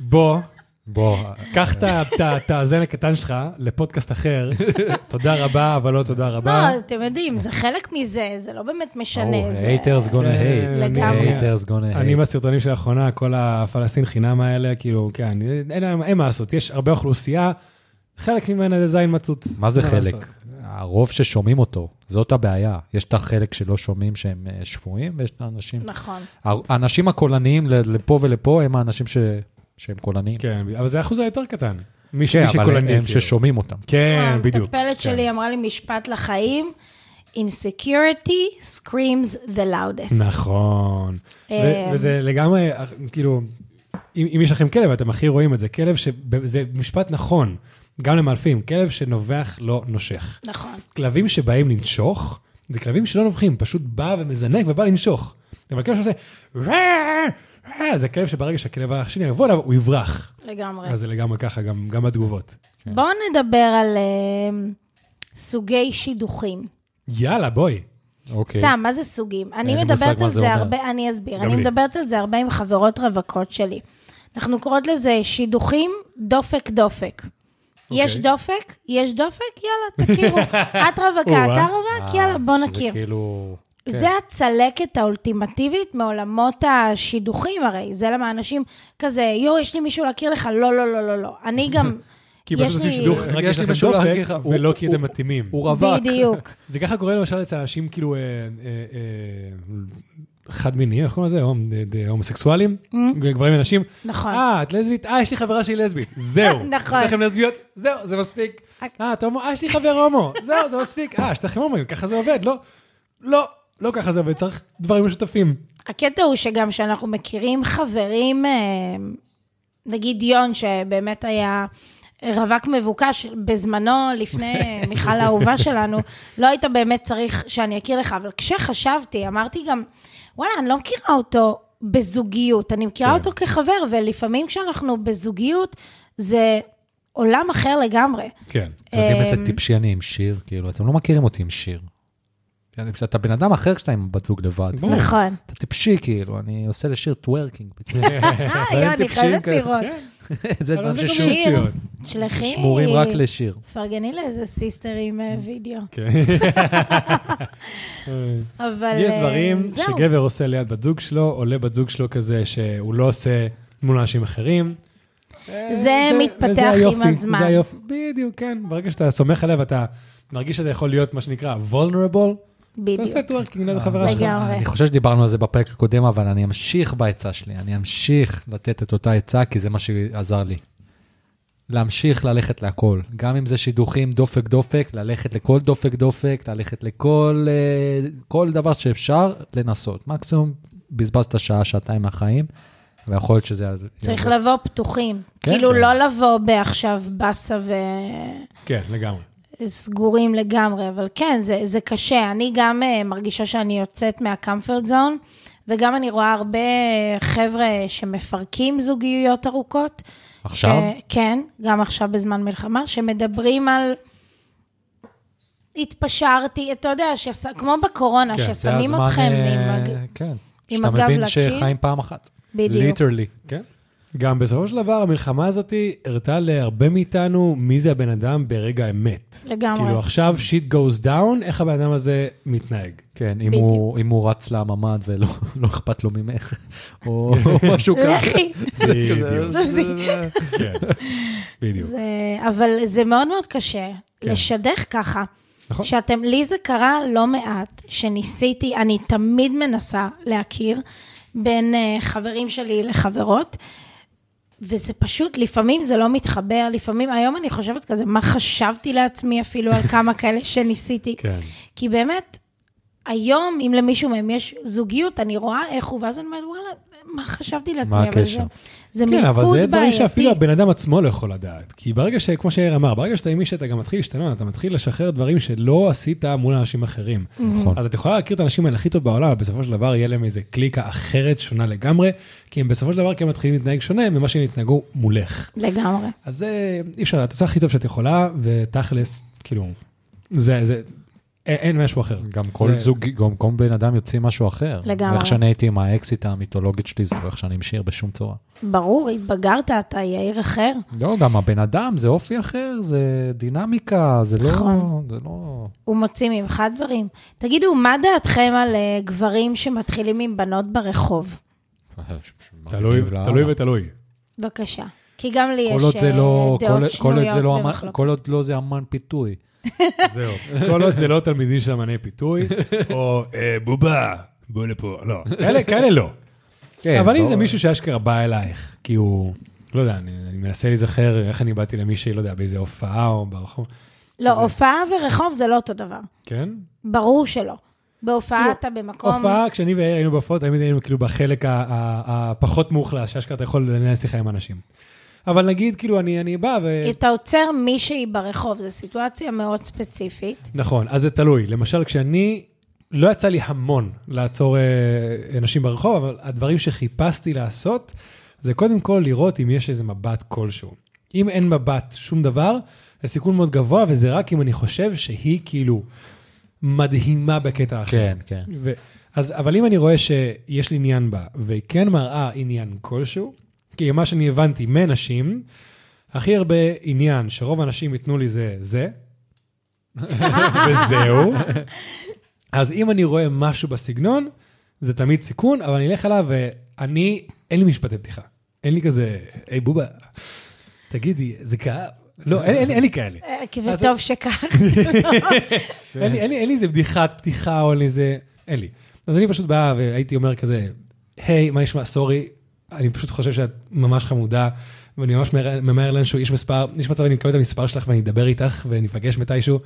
A: בוא,
B: בוא,
A: קח את ה- את ה- את הזן הקטן שלך לפודקאסט
B: <laughs>
A: אחר. תודה רבה, אבל לא תודה רבה.
C: לא, אתם יודעים, זה חלק מזה, זה לא באמת משנה. זה-
B: haters gonna hate.
C: לגמרי.
B: haters gonna
A: אני
B: hate.
A: מהסרטונים של האחרונה, כל הפלסטין חינם האלה, כאילו, כן, אין להם- אין מה לעשות, יש הרבה אוכלוסייה, חלק ממנה זה זין מצוץ.
B: מה זה חלק?
A: לעשות?
B: הרוב ששומעים אותו, זאת הבעיה. יש את החלק שלא שומעים שהם אה, שפויים, ויש את האנשים...
C: נכון.
B: האנשים הקולניים ל- לפה ולפה הם האנשים ש... שהם קולניים.
A: כן, אבל זה האחוז היותר קטן. מי ש-
B: כן,
A: מי
B: אבל
A: שקולני.
B: הם
A: כאילו.
B: ששומעים אותם.
A: כן, בדיוק.
C: המטפלת שלי אמרה לי משפט לחיים, insecurity screams the loudest.
A: נכון. ו-
C: אה,
A: וזה לגמרי, אה, כאילו, אם אם יש לכם כלב, אתם הכי רואים את זה. כלב ש... זה משפט נכון, גם למאלפים, כלב שנובח לא נושך.
C: נכון.
A: כלבים שבאים לנשוך, זה כלבים שלא נובחים, פשוט בא ומזנק ובא לנשוך. אבל כלב שעושה, "ראה, ראה", זה כלב שברגע שהכלב השני יבוא אליו, הוא יברח.
C: לגמרי.
A: אז זה לגמרי ככה, גם גם בתגובות.
C: בואו נדבר על אה, סוגי שידוכים.
A: יאללה, בואי.
B: אוקיי.
C: סתם, מה זה סוגים? אני
B: לי מושג
C: מדברת
B: מה
C: על
B: זה
C: זה
B: אומר.
C: הרבה, אני אסביר.
A: גם
C: אני
A: לי.
C: מדברת על זה הרבה עם חברות רווקות שלי. אנחנו קוראות לזה שידוכים דופק דופק. יש דופק, יש דופק, יאללה, תכירו. את רווקה,
A: או-אה.
C: אתה רווק, יאללה, בוא נכיר.
B: זה כאילו...
C: זה הצלקת האולטימטיבית מעולמות השידוכים הרי, זה למה אנשים כזה, יואו, יש לי מישהו להכיר לך, לא, לא, לא, לא, לא. אני גם,
A: כי
C: יש
A: פשוט עושים
C: לי-
A: שידוך,
B: יש
A: רק
B: לי
A: יש לכם
B: משהו להגיד
A: דופק,
B: לך, הוא-
A: ולא כי
B: הוא-
A: אתם מתאימים.
B: הוא רווק.
C: בדיוק.
A: זה ככה קורה למשל אצל אנשים כאילו אה, אה, אה, חד מיניים, איך קוראים לזה? הומ- ד- ד- הומוסקסואלים? גברים ונשים?
C: Mm-hmm. נכון.
A: אה, את לסבית? אה, יש לי חברה שהיא לסבית. זהו.
C: <laughs> נכון.
A: יש לכם לסביות? זהו, זה מספיק.
C: רק-
A: אה, אתה הומו? אה, יש לי חבר הומו. זהו, זה מספיק. אה, שתכם הומואים, ככה זה עובד, לא? לא, לא ככה זה עובד, צריך דברים משותפים.
C: הקטע הוא שגם שאנחנו מכירים חברים, אה, נגיד יון, שבאמת היה רווק מבוקש בזמנו,
B: <laughs>
C: לפני אה, מיכל האהובה שלנו, לא היית באמת צריך שאני אכיר לך, אבל כשחשבתי, אמרתי גם, וואלה, אני לא מכירה אותו בזוגיות, אני
B: כן.
C: מכירה אותו כחבר, ולפעמים כשאנחנו בזוגיות, זה עולם אחר לגמרי.
B: אה.
A: כן.
B: אתם יודעים איזה
C: אמ,
B: טיפשי אני עם שיר? כאילו, אתם לא מכירים אותי עם שיר. כאילו, אתה בן אדם אחר כשאתה עם בת זוג לבד.
A: ברור.
B: <laughs>
C: נכון.
B: אתה טיפשי, כאילו, אני עושה לשיר טוורקינג.
A: <laughs>
C: אה, יון, אני
B: טיפשים
C: חייבת
B: כאלה.
C: לראות.
B: זה
A: אבל
B: דברים
A: זה גם
B: ששוב
C: שיר.
A: שטויות.
C: שלחי.
B: שמורים רק לשיר.
C: פרגני לאיזה סיסטרים אה, וידאו.
A: כן.
C: אבל
A: יש
C: אה,
A: דברים
C: זהו.
A: שגבר עושה ליד בת זוג שלו, או לבת זוג שלו כזה שהוא לא עושה מול אנשים אחרים. אה,
C: זה
A: וזה
C: מתפתח עם
A: היופי,
C: הזמן.
A: זה היופי, בדיוק, כן. ברגע שאתה סומך עליה ואתה מרגיש שאתה יכול להיות, מה שנקרא, vulnerable, אתה
C: בדיוק.
A: עושה טוורקינג
B: אה,
A: ליד החברה
C: לגמרי.
A: שלך.
B: אני חושב שדיברנו על זה בפרק הקודם, אבל אני אמשיך בעצה שלי, אני אמשיך לתת את אותה עצה, כי זה מה שעזר לי. להמשיך ללכת להכל, גם אם זה שידוכים דופק דופק, ללכת לכל דופק דופק, ללכת לכל אה, כל דבר שאפשר לנסות. מקסימום בזבזת שעה, שעתיים מהחיים, ויכול להיות שזה...
C: צריך לבוא פתוחים.
B: כן,
C: כאילו
B: כן.
C: לא לבוא בעכשיו באסה
A: כן, לגמרי.
C: וסגורים לגמרי, אבל כן, זה, זה קשה. אני גם אה, מרגישה שאני יוצאת מהקמפרט זון, וגם אני רואה הרבה אה, חבר'ה שמפרקים זוגיות ארוכות.
B: עכשיו?
C: ש- כן, גם עכשיו בזמן מלחמה, שמדברים על... התפשרתי, אתה יודע, שס... כמו בקורונה,
A: כן, זה
B: זה
C: ששמים
B: הזמן,
C: אתכם
B: אה,
C: עם... הג-
B: כן.
C: עם
B: שאתה
C: הגב
B: מבין
C: לקיר.
B: שחיים פעם אחת.
C: בדיוק.
B: ליטרלי.
A: כן. גם בסופו של דבר, המלחמה הזאת הראתה להרבה מאיתנו מי זה הבן אדם ברגע האמת.
C: לגמרי.
A: כאילו עכשיו shit goes down, איך הבן אדם הזה מתנהג.
B: כן, אם הוא, אם הוא רץ לממ"ד ולא <laughs> לא אכפת לו ממך, <laughs>
C: <laughs>
B: או משהו כזה.
A: <laughs>
C: לכי.
A: בדיוק.
C: זה-
A: כן, בדיוק.
C: זה, אבל זה מאוד מאוד קשה
A: כן.
C: כן. לשדך ככה.
A: נכון.
C: שאתם, לי זה קרה לא מעט, שניסיתי, אני תמיד מנסה להכיר בין אה, חברים שלי לחברות, וזה פשוט, לפעמים זה לא מתחבר, לפעמים, היום אני חושבת כזה, מה חשבתי לעצמי אפילו על
A: <laughs>
C: כמה כאלה שניסיתי?
A: כן.
C: כי באמת, היום, אם למישהו מהם יש זוגיות, אני רואה איך הוא, ואז אני אומרת, וואלה, מה חשבתי לעצמי?
B: מה
C: אבל זה-
B: הקשר?
C: זה מלכוד
A: כן,
C: בעייתי.
A: אבל זה דברים שאפילו הבן אדם עצמו לא יכול לדעת. כי ברגע ש... כמו שיאיר אמר, ברגע שאתה עם מישהו, אתה גם מתחיל להשתנות, אתה מתחיל לשחרר דברים שלא עשית מול אנשים אחרים.
B: נכון.
A: אז את יכולה להכיר את האנשים האלה הכי טוב בעולם, אבל בסופו של דבר יהיה להם איזה קליקה אחרת, שונה לגמרי, כי הם בסופו של דבר כן מתחילים להתנהג שונה ממה שהם התנהגו מולך.
C: לגמרי.
A: אז זה אי אפשר, את עושה הכי טוב שאת יכולה, ותכלס, כאילו, זה, זה, אין, אין משהו אחר.
B: גם כל
A: זה-
B: זוג, גם כל בן אדם יוציא משהו אחר.
C: לגמרי.
B: איך שאני הייתי עם האקסיט המיתולוגית שלי, זה לא איך שאני עם שיר בשום צורה.
C: ברור, התבגרת, אתה יאיר אחר.
B: לא, גם הבן אדם, זה אופי אחר, זה דינמיקה, זה לא...
C: נכון.
B: זה לא...
C: הוא מוציא ממך דברים. תגידו, מה דעתכם על אה, גברים שמתחילים עם בנות ברחוב?
A: תלוי, תלוי ותלוי.
C: בבקשה. כי גם לי
B: כל
C: יש
B: עוד זה
C: אה,
B: לא, כל-
C: דעות
B: כל עוד זה לא,
C: שנויות
B: אמן-
C: במחלוקת.
B: כל עוד לא זה אמן פיתוי.
A: זהו. כל עוד זה לא תלמידים של אמני פיתוי, או אה, בובה, בוא לפה, לא. כאלה, כאלה לא.
B: כן,
A: אבל
B: לא-
A: אם זה מישהו שאשכרה בא אלייך, כי הוא, לא יודע, אני, אני מנסה להיזכר איך אני באתי למישהי, לא יודע, באיזה הופעה או ברחוב.
C: לא, הופעה ורחוב זה לא אותו דבר.
A: כן?
C: ברור שלא. בהופעה
A: כאילו,
C: אתה במקום...
A: הופעה, כשאני ויאיר היינו בהופעות, תמיד היינו כאילו בחלק ה- ה- הפחות מאוכלס, שאשכרה אתה יכול לנהל שיחה עם אנשים. אבל נגיד, כאילו, אני, אני בא ו...
C: אתה עוצר מישהי ברחוב, זו סיטואציה מאוד ספציפית.
A: נכון, אז זה תלוי. למשל, כשאני, לא יצא לי המון לעצור אה, אנשים ברחוב, אבל הדברים שחיפשתי לעשות, זה קודם כל לראות אם יש איזה מבט כלשהו. אם אין מבט, שום דבר, זה סיכון מאוד גבוה, וזה רק אם אני חושב שהיא כאילו מדהימה בקטע אחר.
B: כן, כן.
A: ו... אז, אבל אם אני רואה שיש לי עניין בה, והיא כן מראה עניין כלשהו, כי מה שאני הבנתי מנשים, הכי הרבה עניין שרוב האנשים ייתנו לי זה זה, וזהו. אז אם אני רואה משהו בסגנון, זה תמיד סיכון, אבל אני אלך עליו ואני, אין לי משפטי פתיחה. אין לי כזה, היי בובה, תגידי, זה כאב? לא, אין, אין, אין לי כאלה.
C: אה, כי
A: אז-
C: וטוב שכך.
A: אין לי, אין, לי, אין לי איזה בדיחת פתיחה או אין לי איזה... אין לי. אז אני פשוט בא והייתי אומר כזה, היי, מה נשמע? סורי, אני פשוט חושב שאת ממש חמודה, ואני ממש ממהר- ממהר לאנשהו, יש מספר, יש מצב, אני מקבל את המספר שלך ואני אדבר איתך וניפגש מתישהו.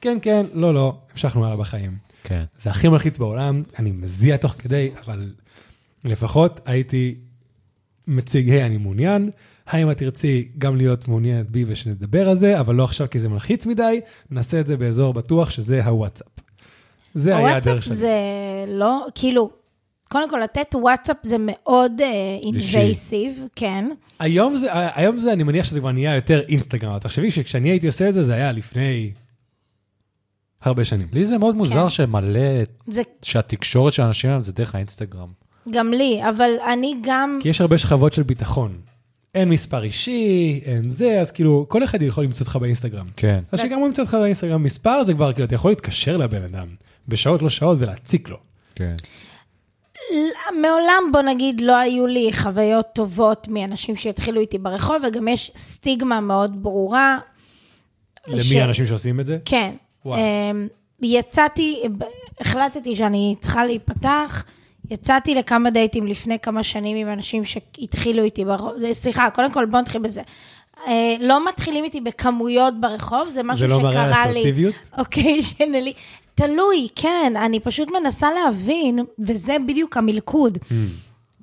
A: כן, כן, לא, לא, המשכנו הלאה בחיים.
B: כן.
A: זה הכי מלחיץ בעולם, אני מזיע תוך כדי, אבל לפחות הייתי מציג, היי, אני מעוניין, האם את תרצי גם להיות מעוניינת בי ושנדבר על זה, אבל לא עכשיו כי זה מלחיץ מדי, נעשה את זה באזור בטוח, שזה הוואטסאפ. זה היה הדרך
C: הוואטסאפ
A: שלי.
C: זה לא, כאילו, קודם כל, לתת וואטסאפ זה מאוד
B: אישי.
C: אינבייסיב, כן.
A: היום זה, היום זה, אני מניח שזה כבר נהיה יותר אינסטגרם. אבל תחשבי שכשאני הייתי עושה את זה, זה היה לפני הרבה שנים.
B: לי זה מאוד מוזר
C: כן.
B: שמלא,
C: זה
B: שהתקשורת של האנשים היום זה דרך האינסטגרם.
C: גם לי, אבל אני גם,
A: כי יש הרבה שכבות של ביטחון. אין מספר אישי, אין זה, אז כאילו, כל אחד יכול למצוא אותך באינסטגרם.
B: כן.
A: אז שגם הוא ימצא אותך באינסטגרם מספר, זה כבר כאילו, אתה יכול להתקשר לבן אדם בשעות לא שעות ולהציק לו.
C: אה,
B: כן.
C: מעולם, בוא נגיד, לא היו לי חוויות טובות מאנשים שהתחילו איתי ברחוב, וגם יש סטיגמה מאוד ברורה. ש-
A: למי האנשים שעושים את זה?
C: כן.
A: וואי.
C: אמ, יצאתי, החלטתי שאני צריכה להיפתח. יצאתי לכמה דייטים לפני כמה שנים עם אנשים שהתחילו איתי ברחוב, זה- סליחה, קודם כל בואו נתחיל בזה. אה, לא מתחילים איתי בכמויות ברחוב, זה משהו
A: זה לא
C: שקרה לי.
A: מראה על אסרטיביות?
C: אוקיי, <laughs> שנלי. תלוי, כן, אני פשוט מנסה להבין, וזה בדיוק המלכוד.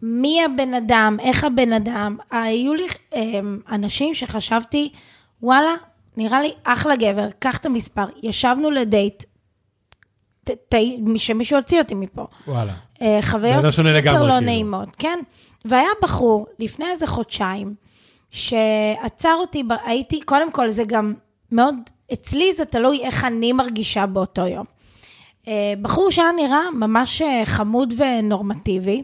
C: מי הבן אדם, איך הבן אדם. היו לי אמ, אנשים שחשבתי, וואלה, נראה לי אחלה גבר, קח את המספר. ישבנו לדייט, ת- ת- שמישהו הוציא אותי מפה.
A: וואלה.
C: אה,
A: בן אדם
C: חוויות
A: שונה
C: סופר
A: לגמרי,
C: לא
A: כאילו.
C: נעימות, כן. והיה בחור לפני איזה חודשיים, שעצר אותי, ב- הייתי, קודם כל זה גם מאוד, אצלי זה תלוי איך אני מרגישה באותו יום. אה, בחור שהיה נראה ממש אה, חמוד ונורמטיבי,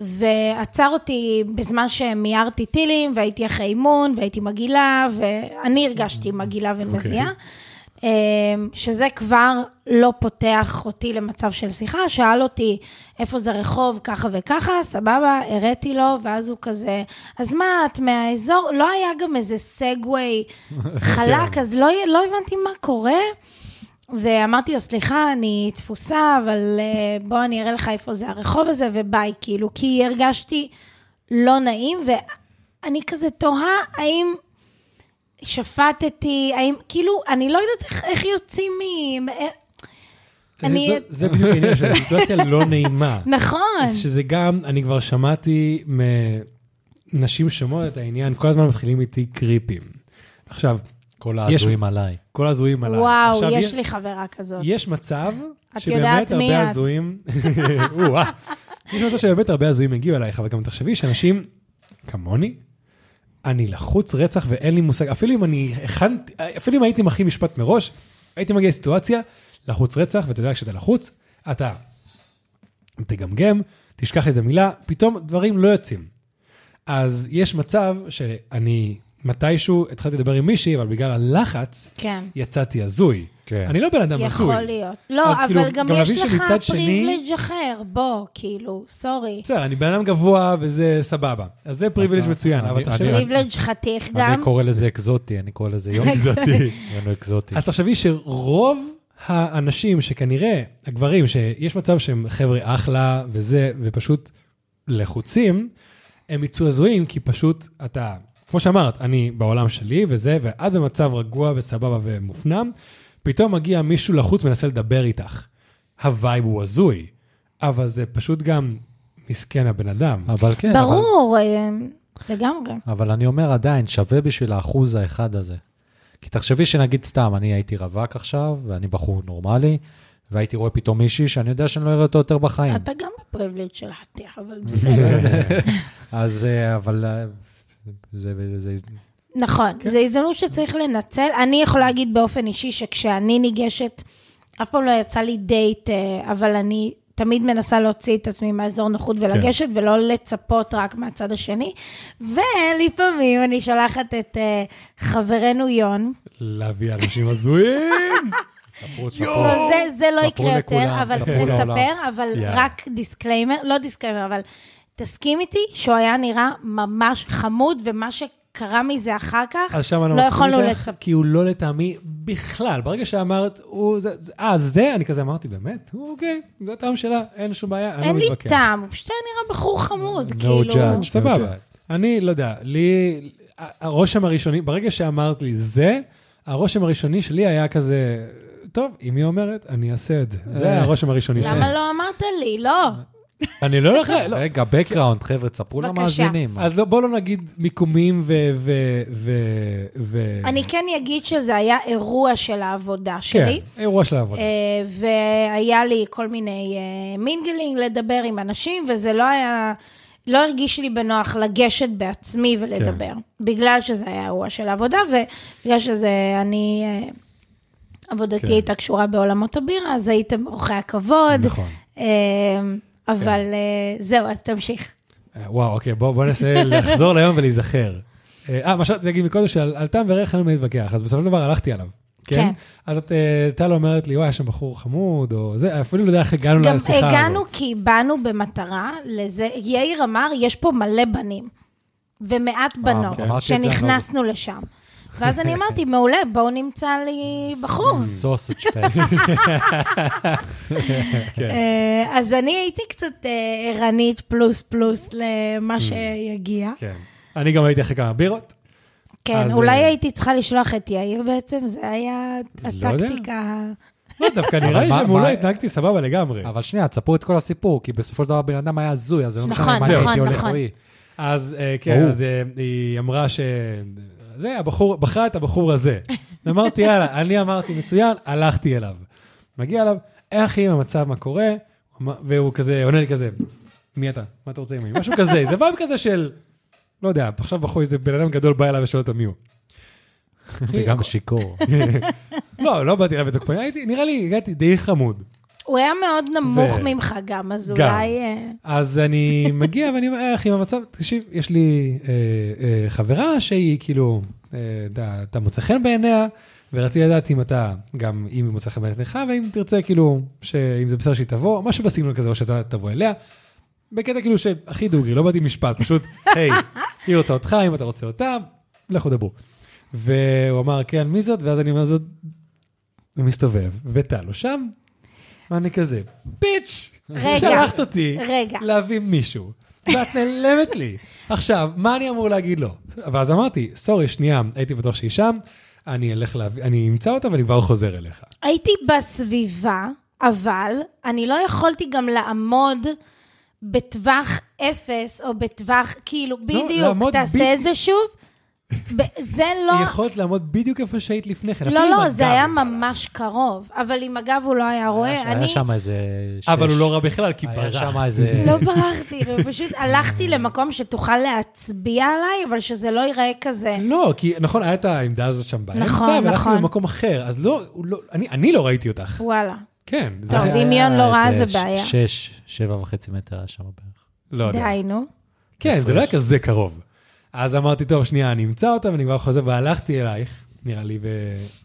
C: ועצר אותי בזמן שמיהרתי טילים, והייתי אחרי אימון, והייתי מגעילה, ואני הרגשתי מגעילה
A: אוקיי.
C: ונזיעה, okay. אמ, שזה כבר לא פותח אותי למצב של שיחה. שאל אותי, איפה זה רחוב, ככה וככה, סבבה, הראתי לו, ואז הוא כזה, אז מה, את מהאזור? לא היה גם איזה סגווי חלק, אז לא, לא הבנתי מה קורה. ואמרתי לו, סליחה, אני תפוסה, אבל אה, בוא אני אראה לך איפה זה הרחוב הזה, וביי, כאילו, כי הרגשתי לא נעים, ואני כזה תוהה האם שפטתי, האם, כאילו, אני לא יודעת איך, איך יוצאים מ... מ- אני-
A: זה- זה בדיוק העניין של סיטואציה
C: <laughs>
A: לא נעימה.
C: נכון.
A: אז שזה גם, אני כבר שמעתי מנשים שומעות את העניין, כל הזמן מתחילים איתי קריפים. עכשיו,
B: כל ההזויים עליי.
A: כל הזויים עליי.
C: וואו,
A: עכשיו,
C: יש לי חברה כזאת.
A: יש מצב
C: את
A: שבאמת
C: יודעת מי
A: הרבה
C: את.
A: הזויים... <laughs> או-אה. יש מצב שבאמת הרבה הזויים הגיעו אלייך, אבל גם תחשבי שאנשים כמוני, אני לחוץ רצח ואין לי מושג, אפילו אם אני הכנתי, אפילו אם הייתי מכין משפט מראש, הייתי מגיע לסיטואציה, לחוץ רצח, ואתה יודע, כשאתה לחוץ, אתה תגמגם, תשכח איזה מילה, פתאום דברים לא יוצאים. אז יש מצב שאני מתישהו התחלתי לדבר עם מישהי, אבל בגלל הלחץ,
C: כן.
A: יצאתי הזוי.
B: כן.
A: אני לא בן אדם הזוי.
C: יכול להיות. לא,
A: אז
C: אבל
A: כאילו,
C: גם
A: גם
C: יש
A: להבין
C: לך
A: שמצד שני-
C: פריבילג' אחר, בוא, כאילו, סורי.
A: בסדר, אני בן אדם גבוה וזה סבבה. אז זה פריבילג'
B: אתה-
A: מצוין,
B: אני-
A: אבל תחשבי...
B: אני-
C: פריבילג' חתיך גם.
B: אני קורא לזה אקזוטי, אני קורא לזה יום אקזוטי. יום אקזוטי.
A: אז תחשבי שרוב האנשים שכנראה, הגברים, שיש מצב שהם חבר'ה אחלה וזה, ופשוט לחוצים, הם יצאו הזויים, כי פשוט אתה, כמו שאמרת, אני בעולם שלי וזה, ואת במצב רגוע וסבבה ומופנם, פתאום מגיע מישהו לחוץ ומנסה לדבר איתך. הווייב הוא הזוי, אבל זה פשוט גם מסכן הבן אדם.
B: אבל כן, אבל-
C: ברור, אה, לגמרי.
B: אבל אני אומר עדיין, שווה בשביל האחוז האחד הזה. כי תחשבי שנגיד סתם, אני הייתי רווק עכשיו, ואני בחור נורמלי, והייתי רואה פתאום מישהי שאני יודע שאני לא אראה אותו יותר
A: כן.
B: בחיים.
C: אתה גם בפריבילג' של חתיך,
A: <laughs>
C: אבל בסדר.
B: <laughs> אז, אה, אבל... אה, זה, זה, זה,
C: נכון,
B: כן.
C: זו הזדמנות שצריך לנצל. אני יכולה להגיד באופן אישי שכשאני ניגשת, אף פעם לא יצא לי דייט, אה, אבל אני תמיד מנסה להוציא את עצמי מהאזור נוחות
B: כן.
C: ולגשת, ולא לצפות רק מהצד השני. ולפעמים אני שולחת את אה, חברנו יון.
A: להביא אנשים הזויים!
B: ספרו, ספרו.
C: לא, זה- זה לא
B: ספרו
C: יקרה יותר,
B: לכולם,
C: אבל
B: ספרו
C: נספר,
B: לעולם.
C: אבל
A: יאללה.
C: רק דיסקליימר, לא דיסקליימר, אבל תסכים איתי שהוא היה נראה ממש חמוד, ומה שקרה מזה אחר
A: <laughs>
C: כך,
A: אז שם אני
C: לא
A: מסכים
C: יכולנו
A: איתך,
C: לצפ-
A: כי הוא לא לטעמי בכלל. ברגע שאמרת, הוא... זה- זה- אה, זה, אני כזה אמרתי, באמת? הוא, אוקיי, זה הטעם שלה, אין שום בעיה, אני לא
C: אין לי
A: מתווכח.
C: טעם, הוא פשוט היה נראה בחור חמוד,
B: No
C: כאילו.
B: judge.
A: סבבה.
B: אני
A: אני לא יודע, לי... הרושם הראשוני, ברגע שאמרת לי זה, הרושם הראשוני שלי היה כזה, טוב, אם היא אומרת, אני אעשה את זה. זה היה הרושם הראשוני שלי.
C: למה לא אמרת לי? לא.
A: אה. אני לא הולך ל... לא.
B: רגע, background, חבר'ה, תספרו
C: בבקשה.
B: למאזינים.
A: אז לא, בואו לא נגיד מיקומים ו... ו- ו- ו-
C: אני כן אגיד שזה היה אירוע של העבודה שלי.
A: כן, אירוע של העבודה.
C: אה, והיה לי כל מיני אה, מינגלינג לדבר עם אנשים, וזה לא היה, לא הרגיש לי בנוח לגשת בעצמי ולדבר. כן. בגלל שזה היה אירוע של עבודה, ובגלל שזה, אני, אה, עבודתי
A: כן.
C: כן. הייתה קשורה בעולמות הבירה, אז הייתם אורחי הכבוד.
A: נכון.
C: אה, אבל אה, זהו, אז תמשיך.
A: אה, וואו, אוקיי, בוא, בוא
B: <laughs>
A: ננסה לחזור ליום ולהיזכר. אה, אה, מה שרציתי להגיד מקודם, שעל על טעם וריח אני לא מתווכח, אז בסופו של דבר הלכתי עליו. כן.
C: כן.
A: אז את, אה, טל אומרת לי, וואי, יש שם בחור חמוד, או זה, אפילו לא יודע איך הגענו
C: גם
A: לשיחה הזאת.
C: הגענו כי באנו במטרה לזה, יאיר אמר, יש פה מלא בנים ומעט
A: אה,
C: בנות,
A: אוקיי.
B: אמרתי את זה, אני לא
C: שנכנסנו לשם. ואז אני אמרתי, מעולה, בואו נמצא לי
A: <laughs>
C: בחור.
B: סוסג' <laughs> פייס.
A: כן.
C: אה, אז אני הייתי קצת אה, ערנית פלוס פלוס למה שיגיע.
A: Mm. כן. אני גם הייתי אחרי כמה בירות.
C: כן,
A: אז,
C: אולי
A: אה,
C: הייתי צריכה לשלוח את יאיר בעצם, זה היה
A: לא יודע.
C: הטקטיקה.
A: לא, דווקא נראה
B: אבל
A: לי
B: מה-
A: שמולו
B: מה-
A: התנהגתי סבבה לגמרי.
B: אבל שנייה, תספרו את כל הסיפור, כי בסופו של דבר הבן אדם היה הזוי, אז זה לא
C: נכון,
B: משנה מה אני
A: נכון,
B: הייתי הולך
C: נכון. <laughs>
B: או היא.
A: אז אה, כן,
B: ברור.
A: אז אה, היא אמרה ש... זה, הבחור, בחרה את הבחור הזה. אמרתי, יאללה, אני אמרתי, מצוין, הלכתי אליו. מגיע אליו, "אה, אחי, עם המצב, מה קורה? הוא אמר- והוא כזה, עונה לי כזה, מי אתה? מה אתה רוצה ממני? משהו כזה, זה וייב כזה של, לא יודע, עכשיו בחור, איזה בן אדם גדול בא אליו ושואל אותו מי הוא.
B: וגם
C: <laughs>
B: שיכור.
A: לא, לא באתי אליו בתוקפני, הייתי, נראה לי, הגעתי די חמוד.
C: הוא היה מאוד נמוך
A: ו-
C: ממך גם, אז
A: גם.
C: אולי... אה,
A: אז אני מגיע ואני אומר, איך עם המצב, תקשיב, יש לי אה, אה, חברה שהיא כאילו, אה, אתה- אתה מוצא חן בעיניה, ורציתי לדעת אם אתה, גם אם היא מוצא חן בעיניך, ואם תרצה כאילו, שאם זה בסדר שהיא תבוא, משהו בסגנון כזה, או שאתה תבוא אליה. בקטע כאילו של הכי דוגרי, לא באתי עם משפט, פשוט, <laughs> היי, היא רוצה אותך, אם אתה רוצה אותה, לכו דברו. והוא אמר, כן, מי זאת? ואז אני אומר, זאת... הוא מסתובב, וטל הוא שם, ואני כזה, ביץ',
C: רגע,
A: שלחת אותי
C: רגע.
A: להביא מישהו, ואת נעלמת לי. עכשיו, מה אני אמור להגיד לו? ואז אמרתי, סורי, שנייה, הייתי בטוח שהיא שם, אני אלך להביא, אני אמצא אותה ואני כבר חוזר אליך.
C: הייתי בסביבה, אבל אני לא יכולתי גם לעמוד בטווח אפס, או בטווח, כאילו,
B: לא,
C: בדיוק,
A: לעמוד
C: תעשה
A: בדיוק.
C: את זה שוב. ב- זה לא...
A: יכולת לעמוד בדיוק איפה שהיית לפני כן.
C: לא,
A: אפילו עם
C: לא, זה
A: הגב.
C: היה ממש קרוב, אבל עם הגב הוא לא היה רואה, אני
B: היה שם איזה...
A: אבל
B: שש-
A: הוא לא רע בכלל, כי
B: היה
A: ברח.
B: שם איזה...
C: לא ברחתי, ופשוט הלכתי למקום שתוכל להצביע עליי, אבל שזה לא ייראה כזה.
A: לא, כי נכון, היה את העמדה הזאת שם באמצע,
C: נכון,
A: והלכנו
C: נכון.
A: למקום אחר, אז לא, הוא לא- אני- אני לא ראיתי אותך.
C: וואלה.
A: כן, זה
C: טוב,
A: היה-
C: אם יון לא ראה,
B: איזה
C: זה
B: ש-
C: בעיה.
B: שש, שבע וחצי מטר היה שם בערך.
A: לא יודע.
C: די, נו.
A: כן, זה
B: הפרש.
A: לא היה כזה קרוב. אז אמרתי, טוב, שנייה, אני אמצא אותה ואני כבר חוזר, והלכתי אלייך, נראה לי,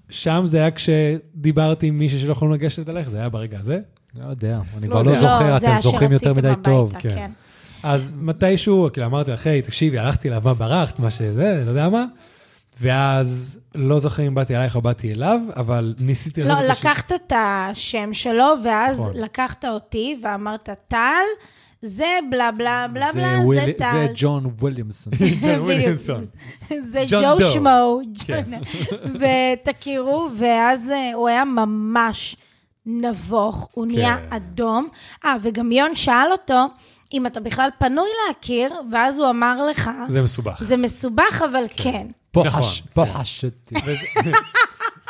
A: ושם זה היה כשדיברתי עם מישהו שלא יכולנו לגשת אלייך, זה היה ברגע הזה.
B: לא יודע, אני כבר
A: יודע.
B: לא
A: לא,
B: זוכר,
C: זה היה
B: אתם זוכרים יותר
C: שרציתם
B: מדי טוב.
C: הביתה,
A: כן. אז מתישהו, כאילו, אמרתי לך, היי, תקשיבי, הלכתי אליו, מה ברחת, מה שזה, לא יודע מה. ואז לא זוכר אם באתי אלייך או באתי אליו, אבל ניסיתי
C: לא,
A: לעשות את השיר.
C: לקחת את השם שלו, ואז
A: נכון.
C: לקחת אותי ואמרת, טל, זה בלה בלה בלה
B: זה
C: בלה,
B: וויל-
C: זה טל.
B: זה ג'ון
C: <laughs>
B: וויליאמסון.
A: ג'ון
C: בדיוק.
A: ווילנסון.
C: זה
A: ג'ון
C: ג'ו
A: דו.
C: שמו,
A: כן.
C: ג'ון. ותכירו, ואז אה, הוא היה ממש נבוך,
A: כן.
C: הוא נהיה אדום. אה, וגם יון שאל אותו אם אתה בכלל פנוי להכיר, ואז הוא אמר לך,
A: זה
C: <laughs>
A: מסובך.
C: זה מסובך, אבל כן.
B: בוחש,
A: נכון.
B: בוחש.
A: וזה-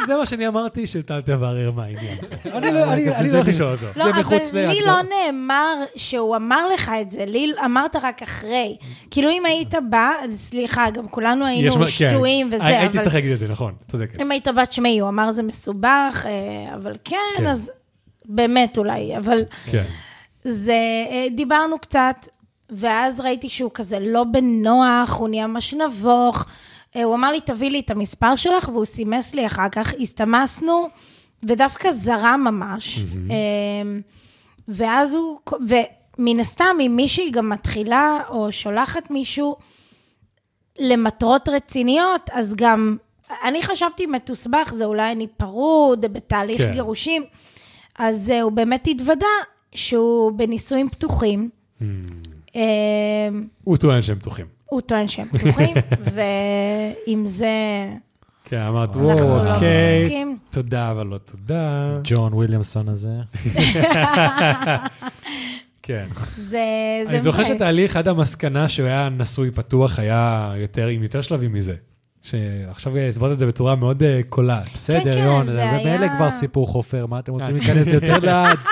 A: זה מה שאני אמרתי, שטל תברר מה
C: <laughs>
A: העניין. אני לא- אני-
B: זה-
A: אני
B: זה-
A: לא הולך לשאול אותו.
C: לא,
B: זה
C: אבל
B: מחוץ ל-
C: לי
B: את
C: לא
B: לא-
C: נאמר שהוא אמר לך את זה, לי אמרת רק אחרי. כאילו, אם היית בא, סליחה, גם כולנו
A: יש מה-
C: היינו
A: כן.
C: שטויים וזה, אבל...
A: הייתי צריך להגיד את זה, נכון, צודקת.
C: אם היית בת שמי, הוא אמר זה מסובך, אה, אבל כן,
A: כן.
C: אז באמת אולי, אבל
A: כן.
C: זה, אה, דיברנו קצת, ואז ראיתי שהוא כזה לא בנוח, הוא נהיה ממש נבוך, אה, הוא אמר לי, תביא לי את המספר שלך, והוא סימס לי אחר כך, הסתמסנו, ודווקא זרם ממש. אה, ואז הוא, ומן הסתם, אם מישהי גם מתחילה או שולחת מישהו, למטרות רציניות, אז גם, אני חשבתי מתוסבך, זה אולי אני פרוד, בתהליך
A: כן.
C: כן. גירושים. אז אה, הוא באמת התוודה שהוא בנישואים פתוחים.
A: Hmm.
C: אה,
A: הוא טוען שהם פתוחים.
C: הוא טוען שהם
A: <laughs>
C: פתוחים, ועם זה
A: כן, אמרת,
B: אנחנו
A: וואו,
B: לא
A: אוקיי,
C: מתעסקים."
A: תודה, אבל לא
C: <laughs>
A: תודה.
B: ג'ון וויליאמסון הזה.
A: כן.
C: זה זה
A: אני זוכר
C: מבאס.
A: שהתהליך עד המסקנה שהוא היה נשוי פתוח היה יותר, עם יותר שלבים מזה. שעכשיו הסברת את זה בצורה מאוד אה, קולעת.
B: בסדר,
C: כן,
B: יון,
C: זה
B: זה
C: היה-
B: ממילא כבר סיפור חופר, מה אתם
A: כן.
B: רוצים להיכנס
A: <laughs>
B: יותר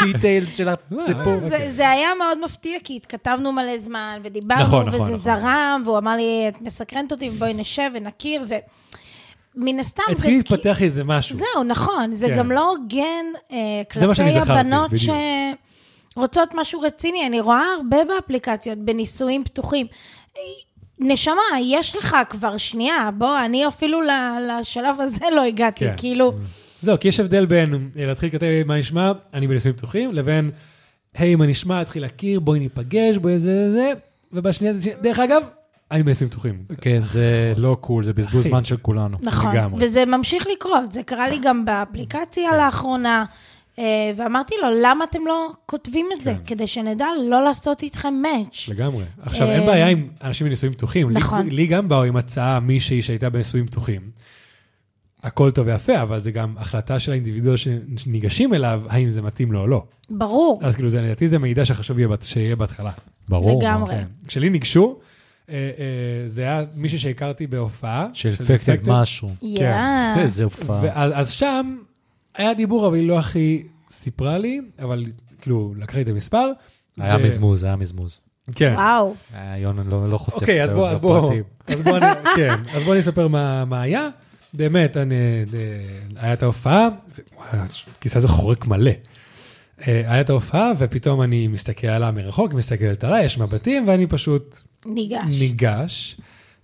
B: לדיטיילס
A: לא,
B: של הסיפור?
C: זה,
A: אוקיי.
C: זה היה מאוד מפתיע, כי התכתבנו מלא זמן, ודיברנו,
A: נכון,
C: נכון,
A: נכון,
C: וזה נכון,
A: נכון.
C: זרם, והוא אמר לי, את מסקרנת אותי, ובואי נשב ונכיר, ומן הסתם זה...
A: התחיל
C: כי-
A: להתפתח איזה משהו.
C: זהו, נכון, זה
A: כן.
C: גם לא הוגן אה,
A: זה מה שאני
C: כלפי
A: זכרתי,
C: הבנות
A: בדיוק.
C: שרוצות משהו רציני. אני רואה הרבה באפליקציות, בניסויים פתוחים. אה, נשמה, יש לך כבר שנייה, בוא, אני אפילו ל- לשלב הזה לא הגעתי,
A: כן.
C: כאילו,
A: זהו, כי יש הבדל בין אה, להתחיל לקטע מה נשמע, אני בנישואים פתוחים, לבין, היי, מה נשמע, התחיל להכיר, בואי ניפגש, בואי זה זה, ובשנייה זה... דרך אגב, אני בנישואים פתוחים.
C: אוקיי.
B: כן, זה לא קול, זה בזבוז
A: נכון. אחי.
B: זמן של כולנו.
C: נכון.
A: לגמרי.
C: וזה ממשיך לקרות, זה קרה לי גם באפליקציה לאחרונה, אה, ואמרתי לו, למה אתם לא כותבים את זה?
A: כן.
C: כדי שנדע לא לעשות איתכם מאץ'.
A: לגמרי. עכשיו,
C: אה,
A: אין בעיה עם אנשים בנישואים פתוחים. לי-
C: נכון.
A: לי גם באו עם הצעה מישהי שהייתה בנישואים פתוחים. הכל טוב ויפה, אבל זה גם החלטה של האינדיבידואל שניגשים אליו, האם זה מתאים לו או לא.
C: ברור.
A: אז כאילו, זה- לדעתי זה מידע שחשוב יהיה בת- שיהיה בהתחלה.
B: ברור.
C: לגמרי.
A: כן. כשלי ניגשו, אה, אה, זה היה מישהו שהכרתי בהופעה.
B: של אפקטיב משהו.
C: יאה.
B: איזה הופעה.
A: ואז אז שם היה דיבור, אבל היא לא הכי סיפרה לי, אבל כאילו, לקחה לי את המספר.
B: היה
A: ו-
B: מזמוז, היה מזמוז.
A: כן.
C: וואו.
B: אה, יונן לא לא חושף.
A: אוקיי,
B: את
A: אז בוא, אז בוא,
B: הפרטים.
A: אז בוא, אני, <laughs> כן, אז בוא אני אספר מה, מה היה. באמת, אני, אה, היה את ההופעה, ו- וואי, הכיסא הזה חורק מלא. אה, היה את ההופעה, ופתאום אני מסתכל עליה מרחוק, היא מסתכלת עליי, יש מבטים, ואני פשוט
C: ניגש.
A: ניגש,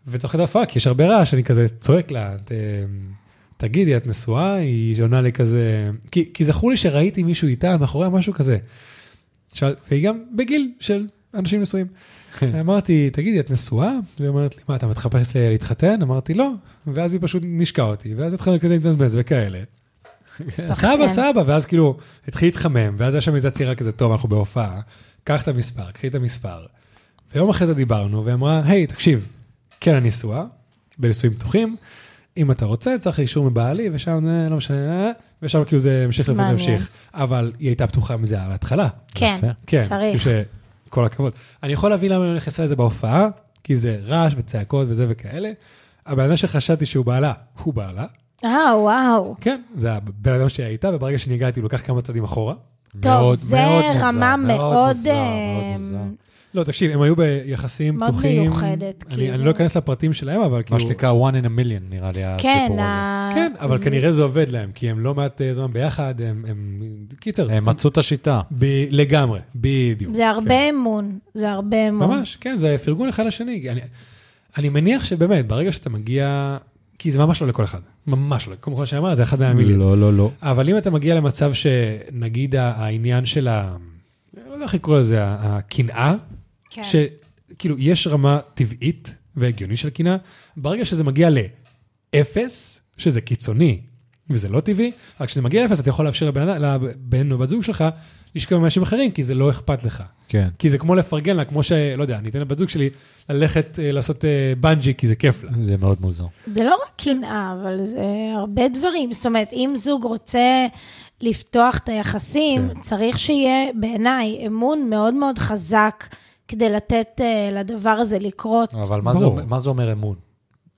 A: ותוך כדי הפרק יש הרבה רעש, אני כזה צועק לה, "ת- תגידי, את נשואה? היא עונה לי כזה, כי, כי זכור לי שראיתי מישהו איתה מאחוריה, משהו כזה. שאל, והיא גם בגיל של אנשים נשואים. אמרתי, תגידי, את נשואה? והיא אומרת לי, מה, אתה מתחפש ל- להתחתן? אמרתי, לא. ואז היא פשוט נשקה אותי, ואז התחלנו כזה להתבזבז וכאלה. סבא, סבא, ואז כאילו, התחיל להתחמם, ואז היה שם איזה צעירה כזה, טוב, אנחנו בהופעה, קח את המספר, קחי את המספר. ויום אחרי זה דיברנו, והיא אמרה, היי, תקשיב, כן, אני נשואה, בנישואים פתוחים, אם אתה רוצה, צריך אישור מבעלי, ושם, אה, לא משנה, אה, ושם כאילו זה המשיך לפה, זה
C: מעניין.
A: המשיך. אבל היא הייתה פתוחה מזה על ההתחלה.
C: כן,
B: יפה.
A: כן,
C: צריך.
A: כאילו שכל הכבוד. אני יכול להבין למה אני נכנסה לזה בהופעה, כי זה רעש וצעקות וזה וכאלה. הבן אדם שחשדתי שהוא בעלה, הוא בעלה.
C: אה, וואו.
A: כן, זה הבן אדם שהיה איתה, וברגע שניגעתי הוא לקח כמה צעדים אחורה.
C: טוב,
B: מאוד-
C: זה
B: מאוד מוזר,
C: רמה מאוד...
B: מוזר, מאוד
C: אמ,
B: מוזר.
A: לא, תקשיב, הם היו ביחסים
C: מאוד
A: פתוחים.
C: מיוחדת,
A: אני-
C: כאילו.
A: אני לא אכנס לפרטים שלהם, אבל כאילו...
B: מה שנקרא one in a million נראה לי
C: כן,
B: הסיפור הזה.
C: ה-
A: כן, אבל
C: זה-
A: כנראה זה עובד להם, כי הם לא מעט אה, זמן ביחד, הם... הם- קיצר,
B: הם אה, מצאו את השיטה.
A: ב- לגמרי, בדיוק.
C: זה הרבה אמון, זה הרבה אמון.
A: ממש, כן, זה פרגון אחד לשני. אני, אני מניח שבאמת, ברגע שאתה מגיע, כי זה ממש לא לכל אחד, ממש לא, כמו שאמר, זה אחד מהמילים.
B: לא, לא, לא.
A: אבל אם אתה מגיע למצב שנגיד ה- העניין של ה... לא יודע איך לקרוא לזה, ה- הקנאה,
C: כן.
A: שכאילו יש רמה טבעית והגיונית של קנאה, ברגע שזה מגיע לאפס, שזה קיצוני וזה לא טבעי, רק כשזה מגיע לאפס אתה יכול לאפשר לבן, אדם- לבן או בת זוג שלך לשכב עם אנשים אחרים, כי זה לא אכפת לך.
B: כן.
A: כי זה כמו לפרגן לה, כמו שלא יודע, אני אתן לבת זוג שלי ללכת אה, לעשות אה, בנג'י, כי זה כיף לה.
B: זה מאוד מוזר.
C: זה לא רק קנאה, אבל זה הרבה דברים. זאת אומרת, אם זוג רוצה לפתוח את היחסים,
A: כן.
C: כן. צריך שיהיה בעיניי אמון מאוד מאוד חזק כדי לתת uh, לדבר הזה לקרות.
B: אבל מה זה,
A: ברור.
B: אומר- מה זה אומר אמון?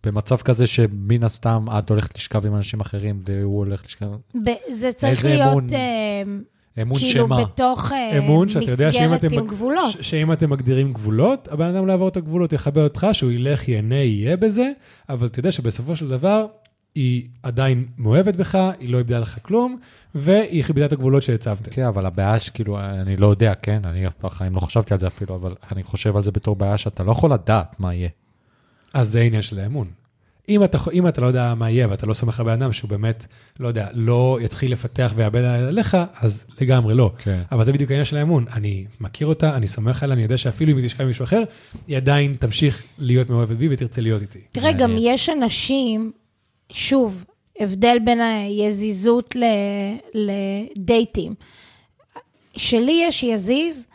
B: במצב כזה שמן הסתם את הולכת לשכב עם אנשים אחרים והוא הולך לשכב...
C: ב- זה צריך
B: איזה
C: להיות
B: אמון?
C: uh,
B: אמון
C: כאילו
B: שמה?
C: בתוך אה,
A: אמון, שאתה יודע שאם
C: מסגרת
A: אתם...
C: עם גבולות.
A: ש- שאם אתם מגדירים גבולות, הבן אדם לא יעבור את הגבולות, יכבה אותך, שהוא ילך, ייהנה, יהיה בזה, אבל אתה יודע שבסופו של דבר, היא עדיין מאוהבת בך, היא לא איבדה לך כלום, והיא כיבדה את הגבולות שהצבתם.
B: כן, אבל הבעיה שכאילו, אני לא יודע, כן, אני אף בחיים לא חשבתי על זה אפילו, אבל אני חושב על זה בתור בעיה שאתה לא יכול לדעת מה יהיה.
A: אז זה העניין של האמון. אם אתה, אם אתה לא יודע מה יהיה ואתה לא סומך על בן אדם שהוא באמת, לא יודע, לא יתחיל לפתח ויאבד עליך, אז לגמרי לא.
B: כן.
A: אבל זה בדיוק העניין של האמון. אני מכיר אותה, אני סומך עליה, אני יודע שאפילו אם היא תשכב עם מישהו אחר, היא עדיין תמשיך להיות מאוהבת בי ותרצה להיות איתי.
C: תראה, גם
B: מעניין.
C: יש אנשים, שוב, הבדל בין היזיזות ל- לדייטים. שלי יש יזיז,